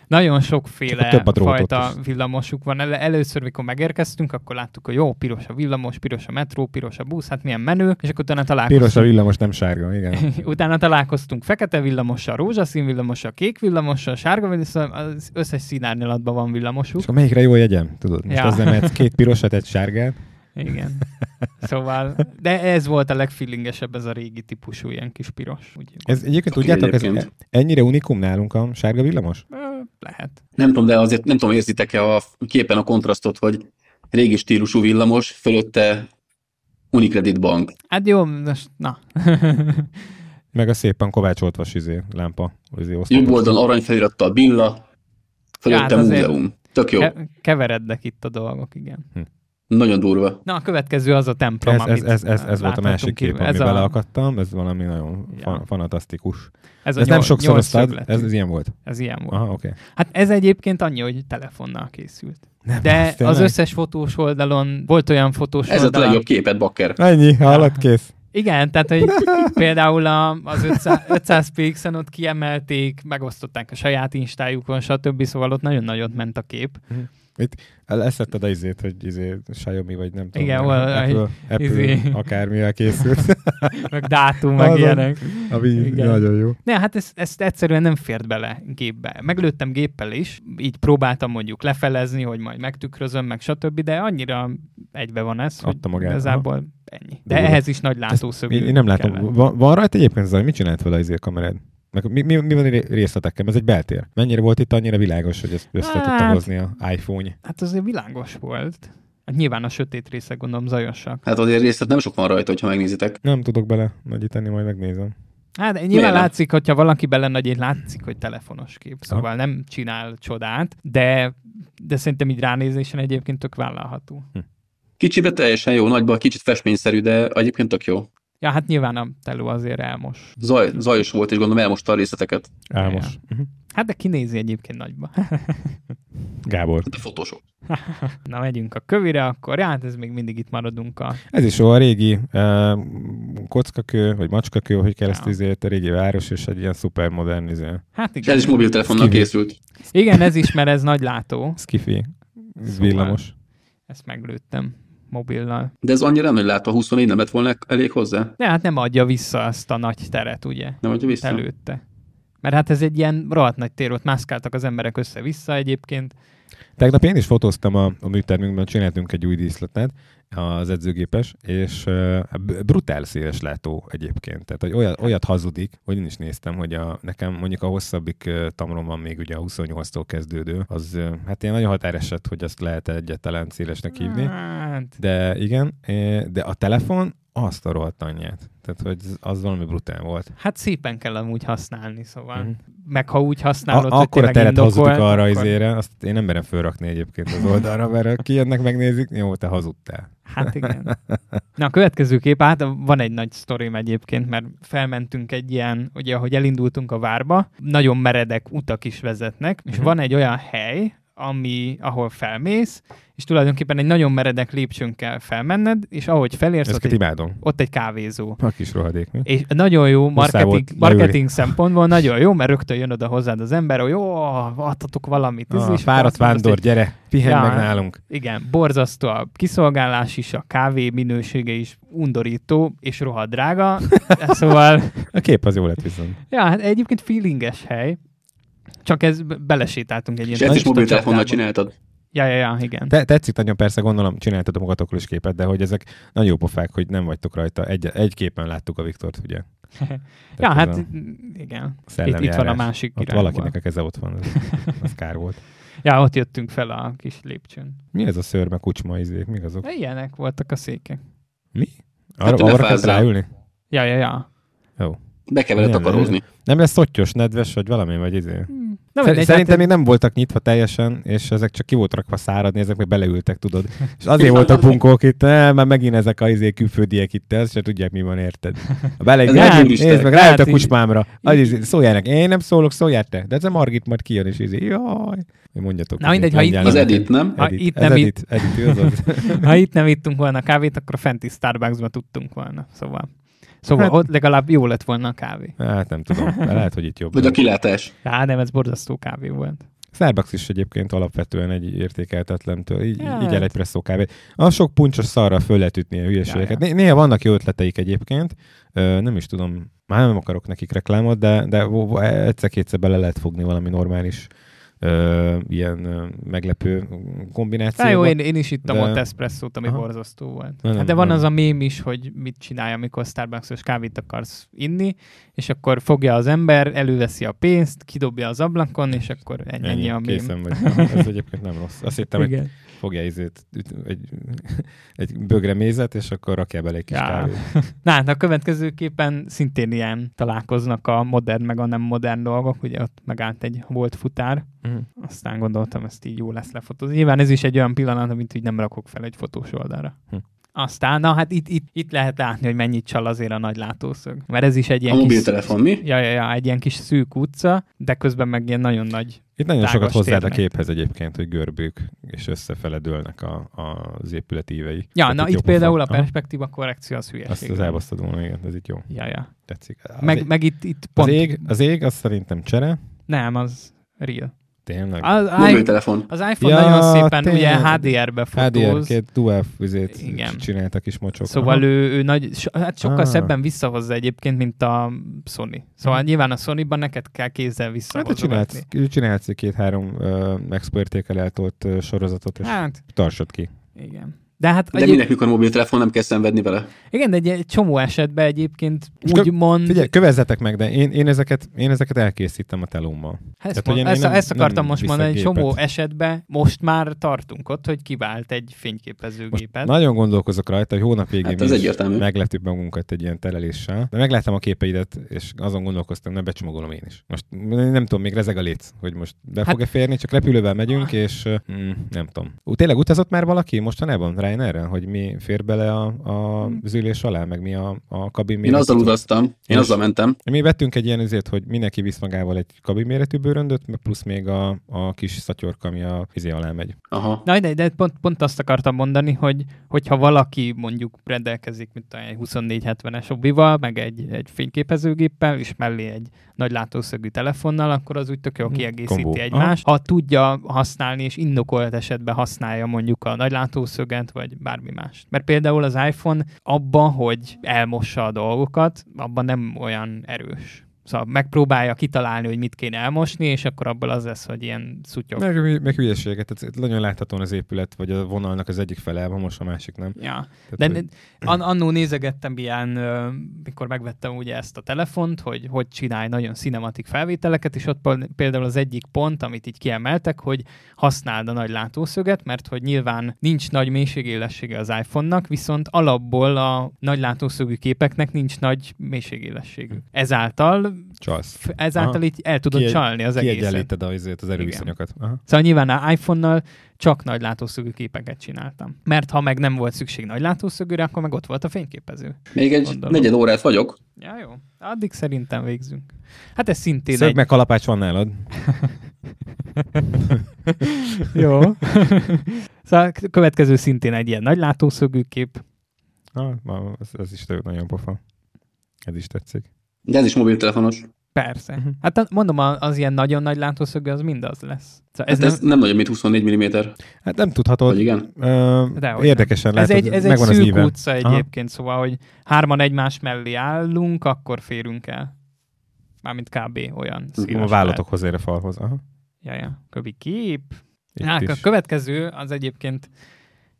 nagyon Csak sokféle több a drótot fajta is. villamosuk van. El- Először, mikor megérkeztünk, akkor láttuk, hogy jó, piros a villamos, piros a metró, piros a busz, hát milyen menő, és akkor utána Piros a találkoztunk. villamos, nem sárga, igen. Utána találkoztunk fekete villamossal, rózsaszín villamossal, kék villamossal, sárga villamossal, az összes színárnyalatban van villamosuk. És akkor melyikre jó jegyem? Tudod, most Ja. ja. ezzel mehetsz két pirosat, egy sárgát. Igen. Szóval, de ez volt a legfeelingesebb, ez a régi típusú ilyen kis piros. Úgy, Ez egyébként Oké, tudjátok, ez egyébként. ennyire unikum nálunk a sárga villamos? Ö, lehet. Nem tudom, de azért nem tudom, érzitek-e a képen a kontrasztot, hogy régi stílusú villamos, fölötte Unicredit Bank. Hát jó, most, na. Meg a szépen kovácsoltvas izé, lámpa. Izé, Jobb oszlopos. oldalon aranyfelirattal Billa, Hát fölötte azért- múzeum. Tök jó. Ke- keverednek itt a dolgok, igen. Nagyon durva. Na, a következő az a templom, ez, amit ez, ez, ez, ez volt a láthatunk másik kívül. kép, amiben ez a, leakadtam, ez valami nagyon Ja. fa- fanatasztikus. ez, a Ez nem nyol- sokszor osztad, nyolcszögletű. ez, ez ilyen volt. ez ilyen volt. Aha, oké. Hát ez egyébként annyi, hogy telefonnal készült. Nem, De az tényleg? az összes fotós oldalon volt olyan fotós Ez a oldal, legjobb képet, Bakker. Ennyi, hallat kész. Igen, tehát hogy például a, az 500, 500 pixen ott kiemelték, megosztották a saját instájukon, stb. Szóval ott nagyon nagyot ment a kép. Leszetted a izét, hogy izé Xiaomi, vagy nem tudom. Igen, mi, hol- Apple, Apple izé. akármivel készült. Meg dátum, meg Azon. ilyenek. Ami Igen. nagyon jó. Ne, hát ezt, ezt egyszerűen nem fért bele gépbe. Meglőttem géppel is, így próbáltam mondjuk lefelezni, hogy majd megtükrözöm, meg stb., de annyira egybe van ez, hogy Adta magát, igazából ennyi. De Durva. ehhez is nagy Ezt látószög. Én, én nem látom. kellett. Van, van rajta egyébként zaj? Mit csinált vele az kamerád? Meg mi, mi, mi van a ré- részletekkel? Ez egy beltér. Mennyire volt itt annyira világos, hogy ezt össze Hát- tudta hozni a iPhone? Hát azért világos volt. Hát nyilván a sötét része gondolom zajosak. Hát azért részlet nem sok van rajta, hogyha megnézitek. Nem tudok bele nagyítani, majd megnézem. Hát nyilván Miért nem? látszik, hogyha valaki bele nagy, látszik, hogy telefonos kép, szóval nem csinál csodát, de, de szerintem így ránézésen egyébként tök vállalható. Kicsibe teljesen jó, nagyban kicsit festményszerű, de egyébként tök jó. Ja, hát nyilván a teló azért elmos. Zaj, zajos volt, és gondolom elmosta a részleteket. Álmos. Mhm. Hát de kinézi egyébként nagyba. Gábor. De fotósok. Na, megyünk a kövire, akkor ja, hát ez még mindig itt maradunk a... Ez is jó, a régi uh, kockakő, vagy macskakő, hogy kell ezt Ja. izélt, a régi város, és egy ilyen szuper modern izé, Hát És ez igen, is mobiltelefonnal Kivi. készült. igen ez is, mert ez nagy látó. skifi, Szóval- villamos. Ezt meglőttem mobillal. De ez annyira nem, hogy látva 24 nem lett volna elég hozzá. De hát nem adja vissza azt a nagy teret, ugye? Nem adja vissza. Előtte. Mert hát ez egy ilyen rohadt nagy tér, ott mászkáltak az emberek össze-vissza egyébként. Tegnap én is fotóztam a, a műtermünkben, csináltunk egy új díszletet, az edzőgépes, és uh, brutál széles látó egyébként. Tehát, hogy olyat, olyat hazudik, hogy én is néztem, hogy a, nekem mondjuk a hosszabbik uh, tamron van még ugye a 28-tól kezdődő, az uh, hát ilyen nagyon határeset, hogy azt lehet egyáltalán szélesnek hívni. Hát, De igen, eh, de a telefon azt a rohadt anyját. Tehát, hogy az- az valami brutál volt. hát szépen kell amúgy használni, szóval. Mhm. Meg ha úgy használod, a, akkor a tényleg teret indokolt, hazudik arra izé, akkor- izére, azt én nem merem fölrakni egyébként az oldalra, mert ha kijönnek, megnézik, jó, te hazudtál. Hát igen. Na, a következő kép, hát van egy nagy sztorim egyébként, mert felmentünk egy ilyen, ugye ahogy elindultunk a várba, nagyon meredek utak is vezetnek, és Mhm. van egy olyan hely, ami, ahol felmész, és tulajdonképpen egy nagyon meredek lépcsőn kell felmenned, és ahogy felérsz, ott Ezeket egy, imádom. ott egy kávézó. A kis rohadék, mi? És nagyon jó marketing, volt leülni. marketing szempontból, nagyon jó, mert rögtön jön oda hozzád az ember, hogy jó, adhatok valamit. Ah, és fáradt azt mondod, vándor, gyere, pihen Ja. meg nálunk. igen, borzasztó a kiszolgálás is, a kávé minősége is undorító, és rohadt drága, szóval, A kép az jó lett viszont. ja, hát egyébként feelinges hely, csak ez belesétáltunk egy És ilyen... ezt is turista mobiltelefonnal csapdába. csináltad. Ja, ja, ja, igen. Te, tetszik nagyon, persze gondolom, csináltatok magatokról is képet, de hogy ezek nagy jó pofák, hogy nem vagytok rajta. Egy, egy képen láttuk a Viktort, ugye? ja, Tehát hát ez a igen. Itt, itt szellemjárás. van a másik Ott irányból. valakinek a keze ott van, az, az kár volt. Ja, ott jöttünk fel a kis lépcsőn. Mi ez a szörme kucsma izék? Mik azok? Na, Ilyenek voltak a székek. Mi? Arra, Hát hát te arra kell lefázzál. ráülni? Ja, ja, ja. Be kell vele Nem, nem. takarózni. Nem lesz szottyos, nedves, vagy valami, vagy izé. Hm. Na, Nem, mindegy, Szerintem még hát- nem voltak nyitva teljesen, és ezek csak ki volt rakva száradni, ezek meg beleültek, tudod. És azért Igen, voltak azért. bunkók itt, nem, mert megint ezek a izé külföldiek itt, ezt se tudják, mi van, érted? A bele, Ezek nézd, turisták. nézd meg, rájött a Hát így- kucsmámra. Az izé, szóljának, én nem szólok, szóljál te. De ez a Margit majd kijön, és izé, jaj. Mondjatok. Na hogy mit mindegy, ha itt- mondjál Az neked. Edit, nem? Ha Edit. itt Ez nem Edit. Edit, ő az az. Ha itt nem ittunk volna kávét, akkor a fenti Starbucksba tudtunk volna. Szóval, szóval Hát- hát... ott legalább jó lett volna a kávé. Hát nem tudom, de lehet, hogy itt jobb. Vagy a kilátás. Á, nem, ez borzasztó kávé volt. Starbucks is egyébként alapvetően egy értékeltetlen, től. így, Ja, így el hát. egy presszó kávét. A sok puncsos szarra föl lehet ütni a hülyeségeket. Ja, Ja, Néha vannak jó ötleteik egyébként, Ö, nem is tudom, már nem akarok nekik reklámot, de, de vo- vo- egyszer-kétszer bele lehet fogni valami normális ö, ilyen ö, meglepő Á, kombinációba. jó, én, én is ittam de- de... ott eszpresszót, ami Aha. Aha. borzasztó volt. Na, nem, hát de van nem. az a mém is, hogy mit csinálj, amikor Starbucksos kávét akarsz inni, és akkor fogja az ember, előveszi a pénzt, kidobja az ablakon, és akkor ennyi, ennyi a mém. készen vagy. Aha, Ez egyébként nem rossz. Azt hittem, hogy Igen. fogja izét, üt- egy, egy bögre mézet, és akkor rakja bele egy kis Ja. kávét. Na, hát a következőképpen szintén ilyen találkoznak a modern meg a nem modern dolgok, ugye ott megállt egy volt futár, Mhm. aztán gondoltam, ezt így jó lesz lefotózni. Nyilván ez is egy olyan pillanat, amit így nem rakok fel egy fotós oldalra. Hm. Aztán, na hát itt, itt, itt lehet látni, hogy mennyit csal azért a nagy látószög. Mert ez is egy A ilyen kis, mobiltelefon, mi? ja, ja, ja, egy ilyen kis szűk utca, de közben meg ilyen nagyon nagy. Itt nagyon tágas sokat hozzád a térnek. képhez egyébként, hogy görbők és összefele dőlnek a, a, az épület ívei. Ja, Tehát na Hát jó itt például a pofa. Aha, perspektíva korrekció az hülyeség. Azt az elbasztad volna, igen, ez itt jó. Ja, ja. Tetszik. Az, Meg, ég, meg itt, itt az, pont... ég, az ég, az szerintem csere. Nem, az real. Tényleg. Az, I- Mobiltelefon. Az iPhone Ja, ja, nagyon szépen tényleg. ugye HDR-be HDR, fotóz, Hát két dual vizét Igen. csináltak is mocsok. szóval ő, ő nagy, so, hát sokkal Ah. ah. szebben visszahozza egyébként, mint a Sony. Szóval Mhm. nyilván a Sony-ban neked kell kézzel Hát te visszahozogatni. csinálsz, csinálsz egy két-három uh, exportérkel eltolt ö, sorozatot, és hát. Hát, tartsod ki. igen. De hát De egy, minek, mikor mobiltelefon nem kell szenvedni vele? igen, de egy, egy csomó esetben egyébként És kö- úgymond... Figyelj, kövezzetek meg, de én, én, ezeket, én ezeket elkészítem a telómmal. Hát Tehát, ezt, hogy mond, én- én én ezt, nem- ezt akartam nem most mondani, egy viszek csomó gépet. esetben most már tartunk ott, hogy kivált egy fényképezőgépet. Nagyon gondolkozok rajta, hogy hónap végén Hát mi ez is egyértelmű. meglepjük magunkat egy ilyen teleléssel. De megláttam a képeidet, és azon gondolkoztam, nem becsomagolom én is. Most nem tudom, még rezeg a léc, hogy most be Hát- fog-e férni, csak repülővel megyünk, és mm, nem tudom. Ú, tényleg utazott már valaki mostanában Ryanairrel, hogy mi fér bele a, a az ülés alá, meg mi a, a kabin Én azzal méretű? utaztam, én És- azzal mentem. Mi vettünk egy ilyen ezért, hogy mindenki visz magával egy kabin méretű bőröndöt, meg plusz még a, a kis szatyorka, ami a izé alá megy. Aha. Na, de, de pont, pont azt akartam mondani, hogy hogyha valaki mondjuk rendelkezik, mint tudom, egy 2470-es obival, meg egy, egy fényképezőgéppel, és mellé egy nagy látószögű telefonnal, akkor az úgy tök jól Mm, kiegészíti kombó. egymást. Ha tudja használni, és indokolt esetben használja mondjuk a nagy látószöget, vagy bármi más. Mert például az iPhone abban, hogy elmossa a dolgokat, abban nem olyan erős. Szóval megpróbálja kitalálni, hogy mit kéne elmosni, és akkor abból az lesz, hogy ilyen szutyog. Meg, meg hülyeséget, tehát nagyon láthatóan az épület, vagy a vonalnak az egyik fele, van most a másik nem. Ja. De Tehát, ne- an- annó nézegettem ilyen, ö, mikor megvettem ugye ezt a telefont, hogy hogy csinálj nagyon cinematik felvételeket, és ott pal- például az egyik pont, amit így kiemeltek, hogy használd a nagy látószöget, mert hogy nyilván nincs nagy mélységélessége az iPhone-nak, viszont alapból a nagy látószögű képeknek nincs nagy mélységélességük. Ezáltal, Csalsz. f- ezáltal Hm. Aha. így el tudod Kiegy- csalni az egészet. Kiegyenlíted az, az erőviszonyokat. Aha. Szóval nyilván a iPhone-nal csak nagy látószögű képeket csináltam. Mert ha meg nem volt szükség nagy látószögűre, akkor meg ott volt a fényképező. Még egy Gondolom. negyed órát vagyok. Ja, jó. Addig szerintem végzünk. Hát ez szintén Szög egy... meg kalapács van nálad. Jó. szóval a következő szintén egy ilyen nagy látószögű kép. Na, ma- ez, ez is tök nagyon pofa. Ez is tetszik. De ez is mobiltelefonos. Persze. Mhm. Hát a- mondom, a- az ilyen nagyon nagy látószögű, az mind az lesz. Szóval ez, Ez, hát nem... ez nem... nem nagyon, mint 24 mm. Hát nem Vagy tudhatod. igen? Ö, Dehogy érdekesen Ez lehet, egy, hogy ez egy megvan az szűk íve. utca egyébként, Aha. szóval, hogy hárman egymás mellé állunk, akkor férünk el. Mármint kb. olyan. széles A vállatok hozzá a falhoz. Aha. lehet. Ja, ja. Köbi kép. Itt Hát a is. következő az egyébként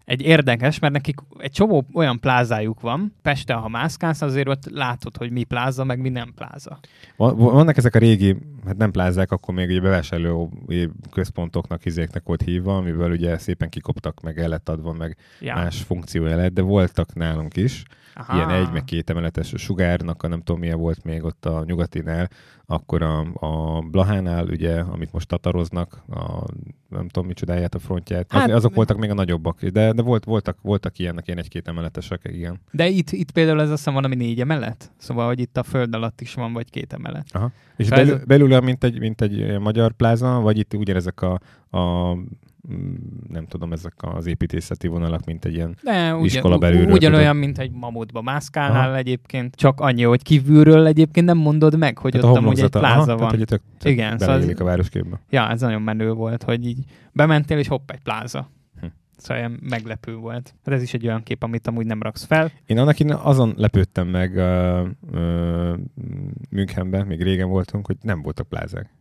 egy érdekes, mert nekik egy csomó olyan plázájuk van. Pesten, ha mászkálsz, azért ott látod, hogy mi pláza, meg mi nem pláza. Van- Vannak ezek a régi, hát nem plázák, akkor még ugye bevásárló központoknak, izéknek volt hívva, amiből ugye szépen kikoptak, meg el lett adva, meg Ja. más funkciója lett, de voltak nálunk is. Aha. Aha. Ilyen egy, meg két emeletes a sugárnak, a nem tudom milyen volt még ott a nyugatinál, akkor a, a Blahánál, ugye, amit most tataroznak, a, nem tudom micsodáját, a frontját, Hát- hát, az, azok voltak még a nagyobbak, de, de volt, voltak, voltak ilyenek, ilyen egy-két emeletesek, igen. De itt, itt például ez azt hiszem van, ami négy emelet. Szóval, hogy itt a föld alatt is van, vagy két emelet. Aha. És Szóval ez- belül, belül mint egy, mint egy eh, magyar pláza, vagy itt ugyanezek a, a mm, nem tudom, ezek az építészeti vonalak, mint egy ilyen. De ugyan, Iskola u- belülről, ugyanolyan, mint egy mamutba mászkálnál Aha. egyébként. Csak annyi, hogy kívülről egyébként nem mondod meg, hogy Tehát ott amúgy egy Hát homlokzata- pláza aha, van. Tehát, hogy itt tök, tök Igen, Igen, szóval szóval az- a városképbe. Ja, ez nagyon menő volt, hogy így bementél, és hopp, egy pláza. Hm. Hm. Szóval ilyen meglepő volt. Hát ez is egy olyan kép, amit amúgy nem raksz fel. Én annak innen azon lepődtem meg uh, uh, Münchenben, még régen voltunk, hogy nem voltak plázák.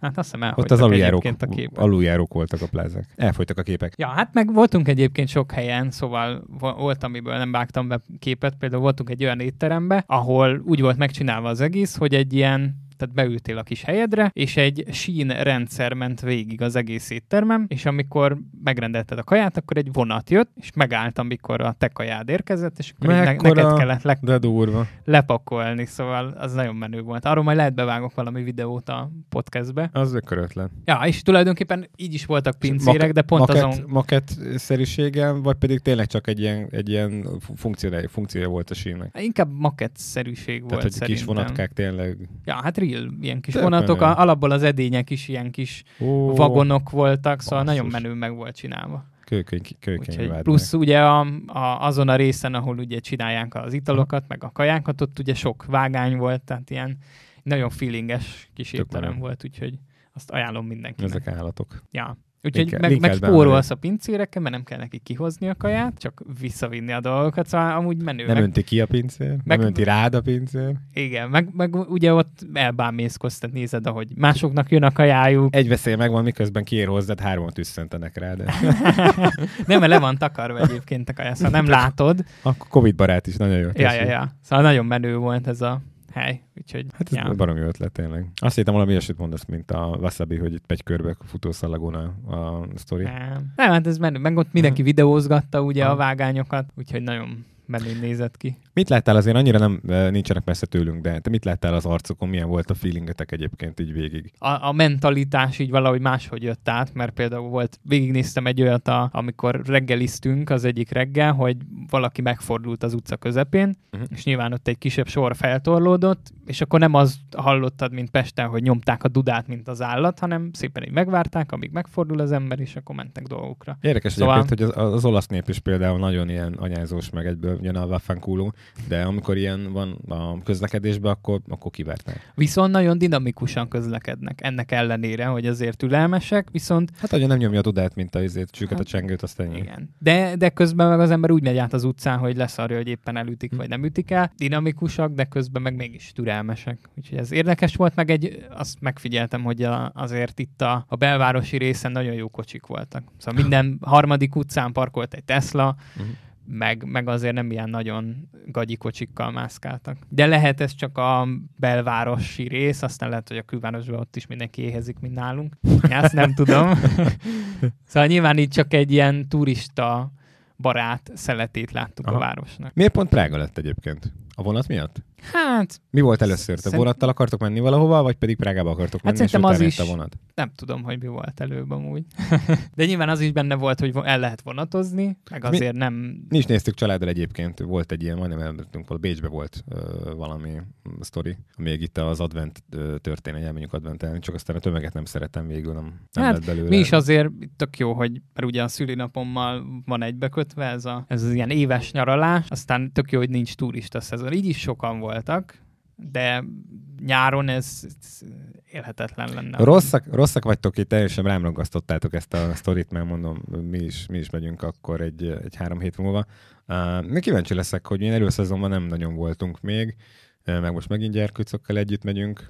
hát azt hiszem Ott elfogytak az aluljárók, egyébként a kép. aluljárók voltak a plázák. Elfogytak a képek. Ja, hát meg voltunk egyébként sok helyen, szóval vo- volt, amiből nem vágtam be képet, például voltunk egy olyan étterembe, ahol úgy volt megcsinálva az egész, hogy egy ilyen tehát beültél a kis helyedre, és egy sín rendszer ment végig az egész éttermem, és amikor megrendelted a kaját, akkor egy vonat jött, és megállt, amikor a te kajád érkezett, és akkor így ne- Mekkora- neked kellett le- De durva. lepakolni, szóval az nagyon menő volt. Arról majd lehet bevágok valami videót a podcastbe. Az ökörötlen. Ja, és tulajdonképpen így is voltak pincérek, de pont maket, azon... Maket szerűségem, vagy pedig tényleg csak egy ilyen, egy ilyen funkciója, funkciója volt a sínnek. Hát Inkább maketszerűség volt Tehát, hogy szerintem. kis vonatkák tényleg. Ja, hát real, ilyen kis Tök vonatok. menő. A, alapból az edények is ilyen kis Ó, vagonok voltak, szóval basszus. nagyon menő meg volt csinálva. Kőkeny, kőkeny Úgyhogy vád plusz ugye a, a, azon a részen, ahol ugye csinálják az italokat, meg a kajákat, ott ugye sok vágány volt, tehát ilyen nagyon feelinges kis Tök étterem menő. volt, volt, úgyhogy azt ajánlom meg. mindenkinek. Ezek állatok. Ja. Úgyhogy Linkel- meg, linkelt meg be emelni. spórolsz a pincérekkel, mert nem kell neki kihozni a kaját, csak visszavinni a dolgokat, szóval amúgy menő. Nem meg, önti ki a pincér, meg- nem önti rád a pincér. Igen, meg, meg ugye ott elbámészkodsz, tehát nézed, ahogy másoknak jön a kajájuk. Egy veszély megvan, miközben kiér hozzád, háromat üsszentenek rá, de nem, mert le van takarva egyébként a kaja, szóval nem látod. akkor Covid barát is nagyon Hát jó. Ja, tessék. ja, ja. Szóval nagyon menő volt ez a hely, úgyhogy Hát ez ja. ja. baromi ötlet tényleg. Azt hittem valami olyasmit mondasz, mint a Wasabi, hogy itt megy körbe futószalagon a, a sztori. Nem, Nem, hát ez menő. Meg ott mindenki videózgatta ugye a Mhm. Aha. vágányokat, úgyhogy nagyon menő nézett ki. Mit láttál azért? Annyira nem eh, nincsenek messze tőlünk, de te mit láttál az arcokon? Milyen volt a feelingetek egyébként így végig? a, a mentalitás így valahogy máshogy jött át, mert például volt, végignéztem egy olyat, a, amikor reggeliztünk az egyik reggel, hogy valaki megfordult az utca közepén, Mhm. és nyilván ott egy kisebb sor feltorlódott, és akkor nem azt hallottad, mint Pesten, hogy nyomták a dudát, mint az állat, hanem szépen így megvárták, amíg megfordul az ember, és akkor mentek dolgokra. Érdekes Szóval- szóval... egyébként, hogy az, az, olasz nép is például nagyon ilyen anyázós, meg egyből jön a waffenkuló, de amikor ilyen van a közlekedésben, akkor, akkor kivertnek. Viszont nagyon dinamikusan közlekednek, ennek ellenére, hogy azért türelmesek, viszont Hát ugye nem nyomja a dudát, mint a izét, csüket Hát, a csengőt, azt ennyi. Igen. De, de közben meg az ember úgy megy át az utcán, hogy leszarja, hogy éppen elütik, vagy nem ütik el. Dinamikusak, de közben meg mégis türelmesek. Úgyhogy ez érdekes volt, meg egy, azt megfigyeltem, hogy a, azért itt a, a belvárosi részen nagyon jó kocsik voltak. Szóval minden harmadik utcán parkolt egy Tesla, Mhm. meg, meg azért nem ilyen nagyon gagyi kocsikkal mászkáltak. De lehet ez csak a belvárosi rész, aztán lehet, hogy a külvárosban ott is mindenki éhezik, mint nálunk. Ezt nem tudom. Szóval nyilván itt csak egy ilyen turista barát szeletét láttuk Aha. Aha. a városnak. Miért pont Prága lett egyébként? A vonat miatt? Hát, Mi volt először? Te Szerint- vonattal akartok menni valahova, vagy pedig Prágába akartok Hát menni, és szerintem utána az jött is. a vonat? nem tudom, hogy mi volt előbb amúgy. De nyilván az is benne volt, hogy vo- el lehet vonatozni, meg Mi- azért nem... Mi is néztük családdal egyébként, volt egy ilyen, majdnem elmentünk, volt Bécsbe volt ö, valami mm, sztori, még itt az advent ö, történet, elmenjünk adventelni, csak aztán a tömeget nem szerettem végül, nem, nem Hát, lett belőle. Mi is azért tök jó, hogy mert ugye a szülinapommal van egybekötve ez, a, ez az ilyen éves nyaralás, aztán tök jó, hogy nincs turista szezon. Így is sokan voltak, de nyáron ez, ez élhetetlen lenne. Rosszak, rosszak vagytok itt, teljesen rám ragasztottátok ezt a sztorit, mert mondom, mi is, mi is megyünk akkor egy, egy három hét múlva. Uh, kíváncsi leszek, hogy én előszezonban nem nagyon voltunk még, meg most megint gyerkőcökkel együtt megyünk,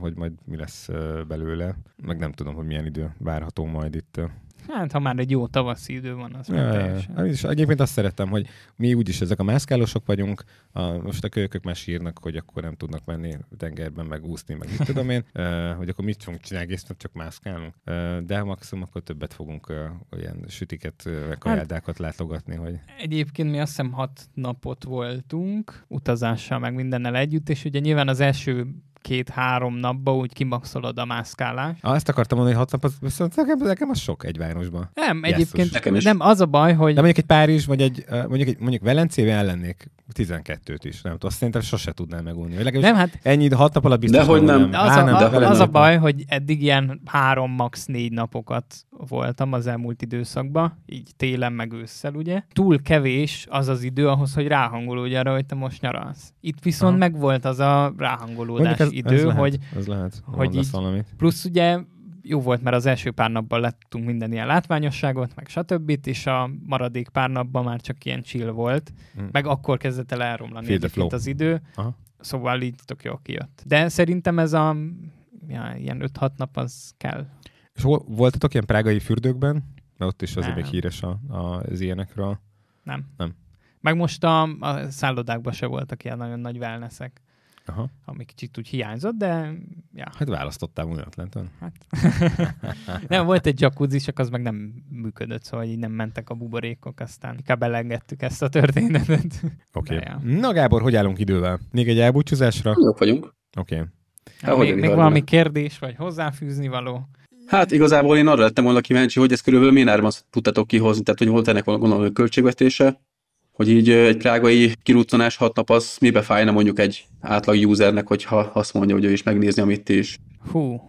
hogy majd mi lesz belőle, meg nem tudom, hogy milyen idő várható majd itt Hát, ha már egy jó tavaszi idő van, az már teljesen. Hát, És egyébként azt szeretem, hogy mi úgyis ezek a mászkálósok vagyunk, a, most a kölykök már sírnak, hogy akkor nem tudnak menni tengerben, meg úszni, meg mit tudom én, e, hogy akkor mit fogunk csinálni, egész nap csak mászkálunk. E, de maximum akkor többet fogunk e, olyan sütiket, Hát- meg kajádákat látogatni. Hogy... Egyébként mi azt hiszem hat napot voltunk utazással, meg mindennel együtt, és ugye nyilván az első két-három napba úgy kimaxolod a mászkálást. Ah, ezt akartam mondani, hogy hat nap, az, viszont nekem, nekem az sok egy városban. Nem, egyébként nekem is. nem az a baj, hogy... De mondjuk egy Párizs, vagy egy, mondjuk, egy, mondjuk Velencébe ellennék 12-t is, nem tudom, azt szerintem sose tudnám megunni. Vagy nem, hát... Ennyi hat nap alatt biztos de hogy nem. nem. Az, Á, nem, a, de az a baj, hogy eddig ilyen három, max négy napokat voltam az elmúlt időszakban, így télen meg ősszel, ugye. Túl kevés az az idő ahhoz, hogy ráhangolódj arra, hogy te most nyaralsz. Itt viszont Aha. meg volt az a ráhangolódás ez, idő, ez lehet, hogy, ez lehet, hogy így, valamit. plusz ugye jó volt, mert az első pár napban lettünk minden ilyen látványosságot, meg stb. és a maradék pár napban már csak ilyen chill volt, hmm. meg akkor kezdett el elromlani egyébként az idő, Aha. szóval így tök jól kijött. De szerintem ez a ja, ilyen 5-6 nap az kell. És hol, voltatok ilyen prágai fürdőkben? Mert ott is azért még híres a, a, az ilyenekről. Nem. Nem. Meg most a, a szállodákban se voltak ilyen nagyon nagy wellnessek. Aha. ami kicsit úgy hiányzott, de... Ja. Hát választottál Unatlanton. Hát. nem, volt egy jacuzzi, csak az meg nem működött, szóval így nem mentek a buborékok, aztán inkább elengedtük ezt a történetet. Oké. Okay. Ja. Na Gábor, hogy állunk idővel? Még egy elbúcsúzásra? Jók vagyunk. Oké. Okay. Ja, még, még valami kérdés, vagy hozzáfűzni való? Hát igazából én arra lettem volna kíváncsi, hogy ezt körülbelül milyen árban tudtátok kihozni, tehát hogy volt ennek valami költségvetése, hogy így egy prágai kiruccanás hat nap az mibe fájna mondjuk egy átlag usernek, hogyha azt mondja, hogy ő is megnézni, amit ti is. Hú,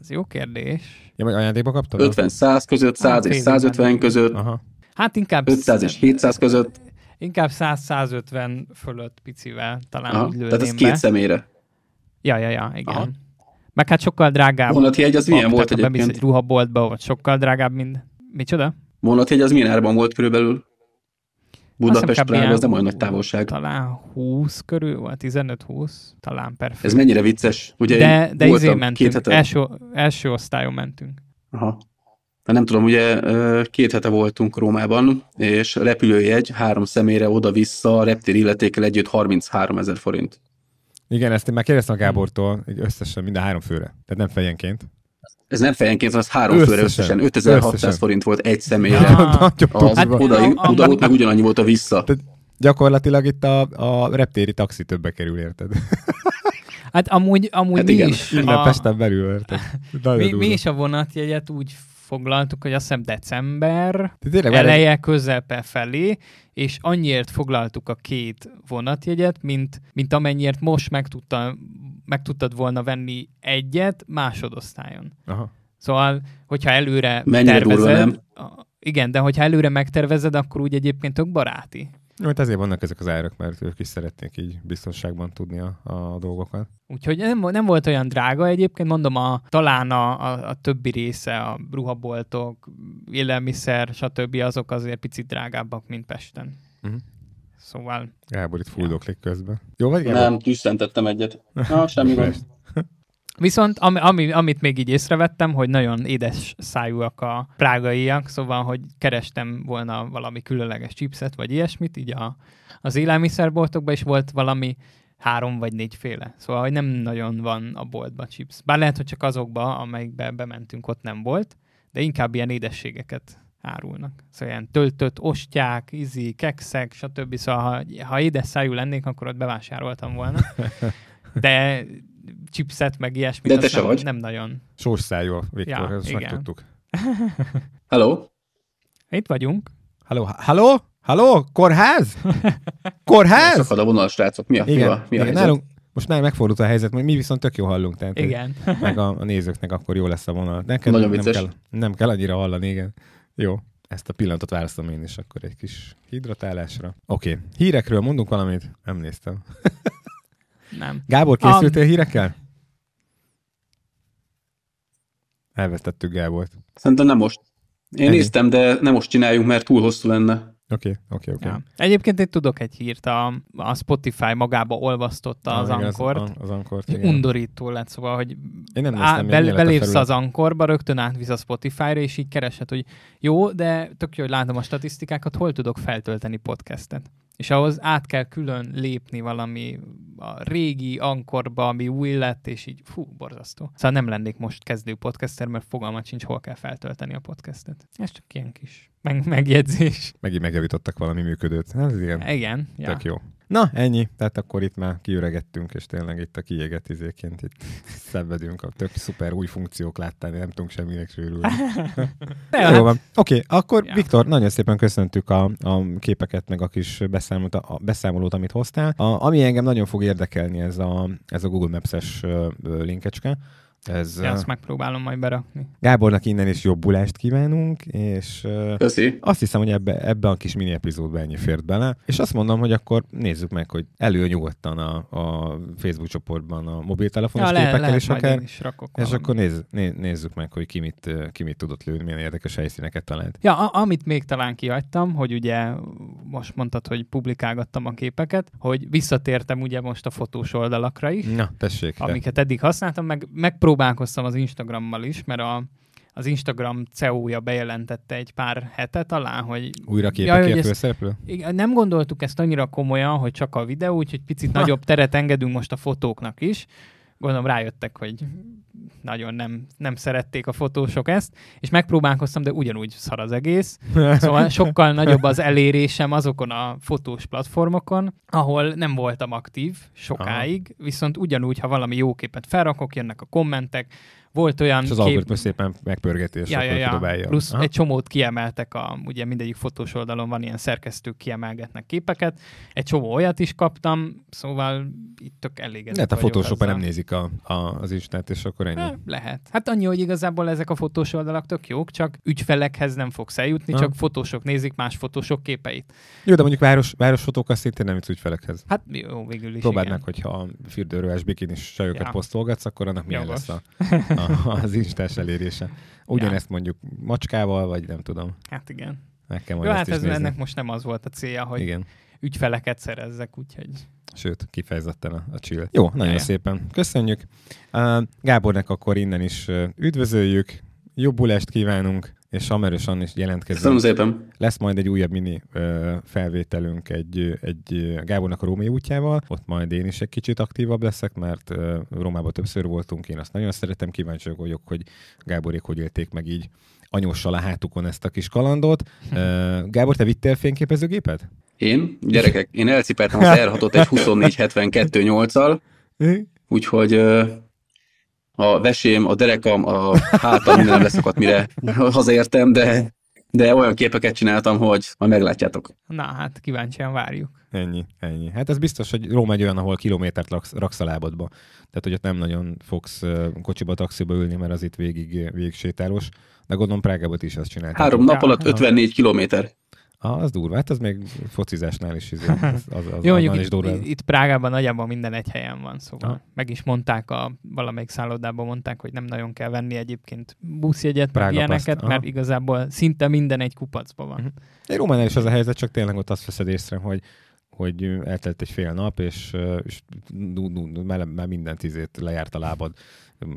az jó kérdés. Ja, vagy ajándékba kaptad? 50-100 között, 100 hát, és 150 között. Aha. Hát inkább... 500 és 700 között. Inkább 100-150 fölött picivel talán Aha. úgy lőném Tehát ez Hát, be. két személyre. Ja, ja, ja, igen. Aha. Meg hát sokkal drágább. Vonati egy az milyen tehát, volt egyébként? Bemész egy ruhaboltba, vagy sokkal drágább, mint... Micsoda? Vonati egy az milyen árban volt körülbelül? Budapest Prága az nem olyan nagy távolság. Talán 20 körül volt, 15-20, talán per Ez mennyire vicces, ugye De, de izé mentünk, hete... első, első osztályon mentünk. Aha. Na nem tudom, ugye két hete voltunk Rómában, és repülőjegy három személyre oda-vissza reptér illetékkel együtt 33 ezer forint. Igen, ezt én már kérdeztem a Gábortól, hogy összesen mind a három főre, tehát nem fejenként. Ez nem fejenként, az három összesen, főre összesen. 5600 összesen. forint volt egy személyre. Ah, az hát, oda, a, oda volt, meg ugyanannyi volt a vissza. Tehát gyakorlatilag itt a, a reptéri taxi többe kerül, érted? Ah. Hát amúgy, amúgy hát mi igen. is. Innen a... Pesten belül, érted? Nagyon mi, durva. mi is a vonatjegyet úgy foglaltuk, hogy azt hiszem december De eleje, egy... közepe felé, és annyiért foglaltuk a két vonatjegyet, mint, mint amennyiért most meg, tudtam, meg tudtad volna venni egyet másodosztályon. Aha. Szóval, hogyha előre Mennyire tervezed... Durva, nem? Igen, de hogyha előre megtervezed, akkor úgy egyébként tök baráti. Jó, hát ezért vannak ezek az árak, mert ők is szeretnék így biztonságban tudni a, a dolgokat. Úgyhogy nem, nem volt olyan drága egyébként, mondom, a, talán a, a, a többi része, a ruhaboltok, élelmiszer, stb. azok azért picit drágábbak, mint Pesten. Uh-huh. Szóval... Gábor itt fuldoklik ja. közben. Jó vagy, Gábor? Nem, tüsszentettem egyet. Na, semmi gond. Viszont ami, ami, amit még így észrevettem, hogy nagyon édes szájúak a prágaiak, szóval, hogy kerestem volna valami különleges chipset, vagy ilyesmit, így a, az élelmiszerboltokban is volt valami három vagy négyféle. Szóval, hogy nem nagyon van a boltba chips. Bár lehet, hogy csak azokba, amelyikbe bementünk, ott nem volt, de inkább ilyen édességeket árulnak. Szóval ilyen töltött ostyák, izi, kekszek, stb. Szóval, ha, ha édes szájú lennék, akkor ott bevásároltam volna. De chipset, meg ilyesmit. De te se nem, vagy. nem nagyon. Sós szájú, Viktor, ja, ezt igen. megtudtuk. Hello? Itt vagyunk. Hello, hello? Hello? Kórház? Kórház? Szakad a vonal, srácok. Mi a, igen, mi a, mi a igen, nálunk, most már megfordult a helyzet, mi viszont tök jó hallunk. Tehát, igen. meg a, a, nézőknek akkor jó lesz a vonal. Neked Nagyon nem, vicces. kell, nem kell annyira hallani, igen. Jó, ezt a pillanatot választom én is akkor egy kis hidratálásra. Oké, okay. hírekről mondunk valamit? Nem néztem. Nem. Gábor, készültél a... hírekkel? Elvesztettük Gábort. Szerintem nem most. Én Ennyi. néztem, de nem most csináljunk, mert túl hosszú lenne. Oké, oké, oké. Ja. Egyébként itt tudok egy hírt, a, a Spotify magába olvasztotta Ah, az igen, ankort. Az, az ankort, igen. Undorító lett, szóval, hogy Én nem á, néztem, még bel, mielőtt a belépsz felület- az ankorba, rögtön átvisz a Spotify-ra, és így keresed, hogy jó, de tök jó, hogy látom a statisztikákat, hol tudok feltölteni podcastet. És ahhoz át kell külön lépni valami a régi ankorba, ami új lett, és így fú, borzasztó. Szóval nem lennék most kezdő podcaster, mert fogalmat sincs, hol kell feltölteni a podcastet. Ez csak ilyen kis meg- megjegyzés. Megint megjavítottak valami működőt. Hát Ez ilyen, Igen, ja. tök jó. Na, ennyi. Tehát akkor itt már kiüregettünk, és tényleg itt a kiégett izéként itt szenvedünk. A tök szuper új funkciók láttál, nem tudunk semminek sőrülni. De, Jó van. Oké, okay, akkor hát- Ja. ja. Viktor, nagyon szépen köszöntük a, a képeket, meg a kis beszámolót, a beszámolót amit hoztál. A, ami engem nagyon fog érdekelni, ez a, ez a Google Maps-es ö, ö, linkecske. Ez, Ja, ö, azt megpróbálom majd berakni. Gábornak innen is jobbulást kívánunk, és ö, Köszi. azt hiszem, hogy ebbe, ebbe a kis mini epizódban ennyi fért bele, és azt mondom, hogy akkor nézzük meg, hogy elő nyugodtan a, a Facebook csoportban a mobiltelefonos Ja, ja, le, képekkel, lehet, és majd akár én is rakok és valamit. akkor nézz, né, nézzük meg, hogy ki mit, ö, ki mit tudott lőni, milyen érdekes helyszíneket talált. Ja, a- amit még talán kihagytam, hogy ugye most mondtad, hogy publikálgattam a képeket, hogy visszatértem ugye most a fotós oldalakra is, Na, tessék. te. amiket eddig használtam, meg megpróbálkoztam az Instagrammal is, mert a, az Instagram CEO-ja bejelentette egy pár hete talán, hogy Újra Jaj, hogy képekért ezt- főszereplő? igen, nem gondoltuk ezt annyira komolyan, hogy csak a videó, úgyhogy picit Ha. nagyobb teret engedünk most a fotóknak is. Gondolom rájöttek, hogy nagyon nem, nem szerették a fotósok ezt, és megpróbálkoztam, de ugyanúgy szar az egész. Szóval sokkal nagyobb az elérésem azokon a fotós platformokon, ahol nem voltam aktív sokáig, Aha. viszont ugyanúgy, ha valami jó képet felrakok, jönnek a kommentek. Volt olyan És az algoritmus szépen megpörgeti, és Ja, ja, akkor ja. kidobálja. Plusz Aha. egy csomót kiemeltek, a, ugye mindegyik fotós oldalon van ilyen szerkesztők kiemelgetnek képeket, egy csomó olyat is kaptam, szóval itt tök elégedett Lehet Hát a vagyok photoshop azzal. nem nézik a, a, az Instát, és akkor ennyi. Eh, Lehet. Hát annyi, hogy igazából ezek a fotós oldalak tök jók, csak ügyfelekhez nem fogsz eljutni, Ha. csak fotósok nézik más fotósok képeit. Jó, de mondjuk város, városfotók azt szintén nem jutsz ügyfelekhez. Hát jó, végül is Próbáld igen. meg, hogyha fürdőrőes bikinis sajokat Ja. ja. posztolgatsz, akkor annak milyen Jogos. lesz a, a, az Instás elérése. Ugyanezt mondjuk macskával, vagy nem tudom. Hát igen. Meg kell Jó, majd hát ezt is ez nézni. ennek most nem az volt a célja, hogy Igen. Igen, ügyfeleket szerezzek, úgyhogy sőt, kifejezetten a, a chill. Jó, nagyon Ja. szépen. Köszönjük. Uh, Gábornak akkor innen is uh, üdvözöljük, jobbulást kívánunk, és hamarosan is jelentkezünk. Köszönöm szépen. Lesz majd egy újabb mini ö, felvételünk egy, ö, egy ö, Gábornak a Római útjával, ott majd én is egy kicsit aktívabb leszek, mert ö, Rómában többször voltunk, én azt nagyon szeretem, kíváncsi vagyok, hogy Gáborék hogy élték meg így anyossal a hátukon ezt a kis kalandot. Ö, Gábor, te vittél fényképezőgépet? Én, gyerekek, én elcipeltem az R6-ot egy 24-72-8-al, Hm? úgyhogy ö, a vesém, a derekam, a hátam minden leszakadt, mire hazaértem, de, de olyan képeket csináltam, hogy majd meglátjátok. na hát kíváncsian várjuk. Ennyi, ennyi. Hát ez biztos, hogy Róma egy olyan, ahol kilométert raksz, raksz a lábadba. Tehát, hogy ott nem nagyon fogsz ö, kocsiba, taxiba ülni, mert az itt végig, végig sétálós. De gondolom Prágában ti is ezt csinálták. Három nap alatt Ja. 54 kilométer. Ah, az durva, hát az még focizásnál is, izé, az, az, az Jó, annál mondjuk is itt, durva. itt Prágában nagyjából minden egy helyen van, szóval Ha. meg is mondták, a, valamelyik szállodában mondták, hogy nem nagyon kell venni egyébként buszjegyet, meg Prága ilyeneket, paszt, aha. mert igazából szinte minden egy kupacban van. Hát Mhm. Egy Rómánál is az a helyzet, csak tényleg ott azt veszed észre, hogy hogy eltelt egy fél nap, és, ö, és nú- nú- nú- már, már minden tízét lejárt a lábad.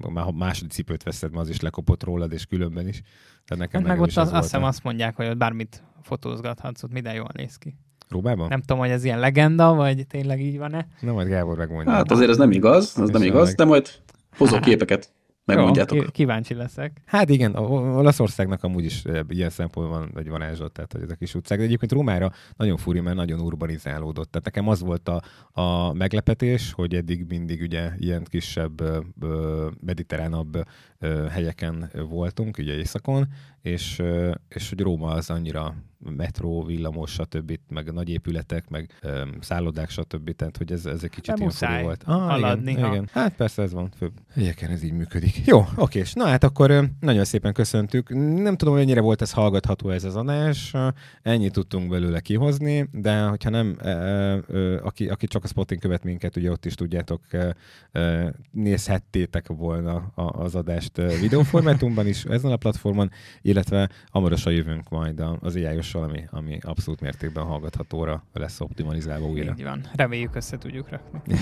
Már ha második cipőt veszed, már az is lekopott rólad, és különben is. Tehát nekem Hát meg nekem ott is az, volt azt hiszem a- azt mondják, hogy ott bármit fotózgathatsz, ott minden jól néz ki. Rómában? Nem. Nem tudom, hogy ez ilyen legenda, vagy tényleg így van-e. Na, majd Gábor megmondja. Hát azért ez nem igaz, ez nem igaz, de majd hozok képeket, Jó, megmondjátok. ki- kíváncsi leszek. Hát igen, O- O- Olaszországnak amúgy is eh, ilyen szempontból van egy varázslat, tehát hogy ez a kis utcák. De egyébként Rómára nagyon furi, mert nagyon urbanizálódott. Tehát nekem az volt a, a meglepetés, hogy eddig mindig ugye ilyen kisebb, ö, ö, mediterránabb ö, helyeken voltunk, ugye északon, és, ö, és hogy Róma az annyira metró, villamos, stb., meg nagy épületek, meg ö, szállodák, stb., tehát hogy ez, ez egy kicsit De ilyen furi muszáj volt. Ah, haladni, igen, ha. igen. Hát persze ez van, főbb Helyeken ez így működik. Jó, oké, és na hát akkor ö, nagyon szépen köszöntük. Nem tudom, hogy mennyire volt ez hallgatható ez az adás, ö, ennyit tudtunk belőle kihozni, de hogyha nem, ö, ö, ö, aki, aki csak a Spotin követ minket, ugye ott is tudjátok, ö, ö, nézhettétek volna a- az adást ö, videóformátumban is ezen a platformon, illetve hamarosan jövünk majd a- az ai adással, ami, ami abszolút mértékben hallgathatóra lesz optimalizálva újra. Így van. Reméljük össze tudjuk rakni.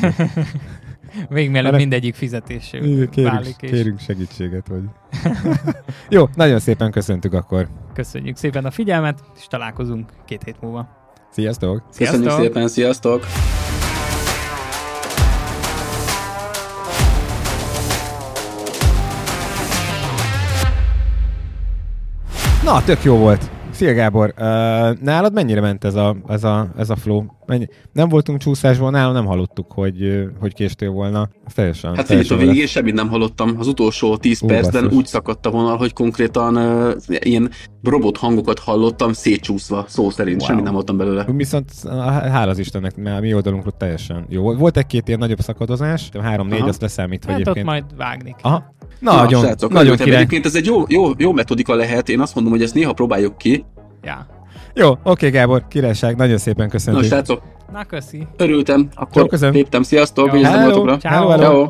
Még mielőtt mindegyik fizetésé Kérünk, válik. És kérünk segítséget, vagy... Jó, nagyon szépen köszöntük akkor. köszönjük szépen a figyelmet, és találkozunk két hét múlva. Sziasztok! Köszönjük szépen, sziasztok! Na, tök jó volt. Szia Gábor, uh, nálad mennyire ment ez a, ez a, ez a flow? Mennyi? Nem voltunk csúszásban, nálam nem hallottuk, hogy, ö, hogy késtél volna. Ez teljesen. Hát figyelj, teljesen a vele. végén semmit nem hallottam. Az utolsó 10 Ú, percben basszus. úgy szakadt a vonal, hogy konkrétan uh, ilyen robot hangokat hallottam szétcsúszva, szó szerint. Wow. Semmit nem hallottam belőle. Viszont á, hála az Istennek, mert a mi oldalunkról teljesen jó. volt. Volt egy-két ilyen nagyobb szakadozás, három-négy, Aha. azt leszámítva Hát ott egyébként. majd vágni kell. Aha. Nagyon, srácok, nagyon örültem. király. Egyébként ez egy jó, jó, jó metodika lehet, én azt mondom, hogy ezt néha próbáljuk ki. Ja. Jó, oké Gábor, királyság, nagyon szépen Na, köszönjük. srácok, Na, köszi. örültem, akkor Jó, köszönöm. léptem, sziasztok, Jó. vigyázzatok Hello, magatokra. hello, hello. Ciao.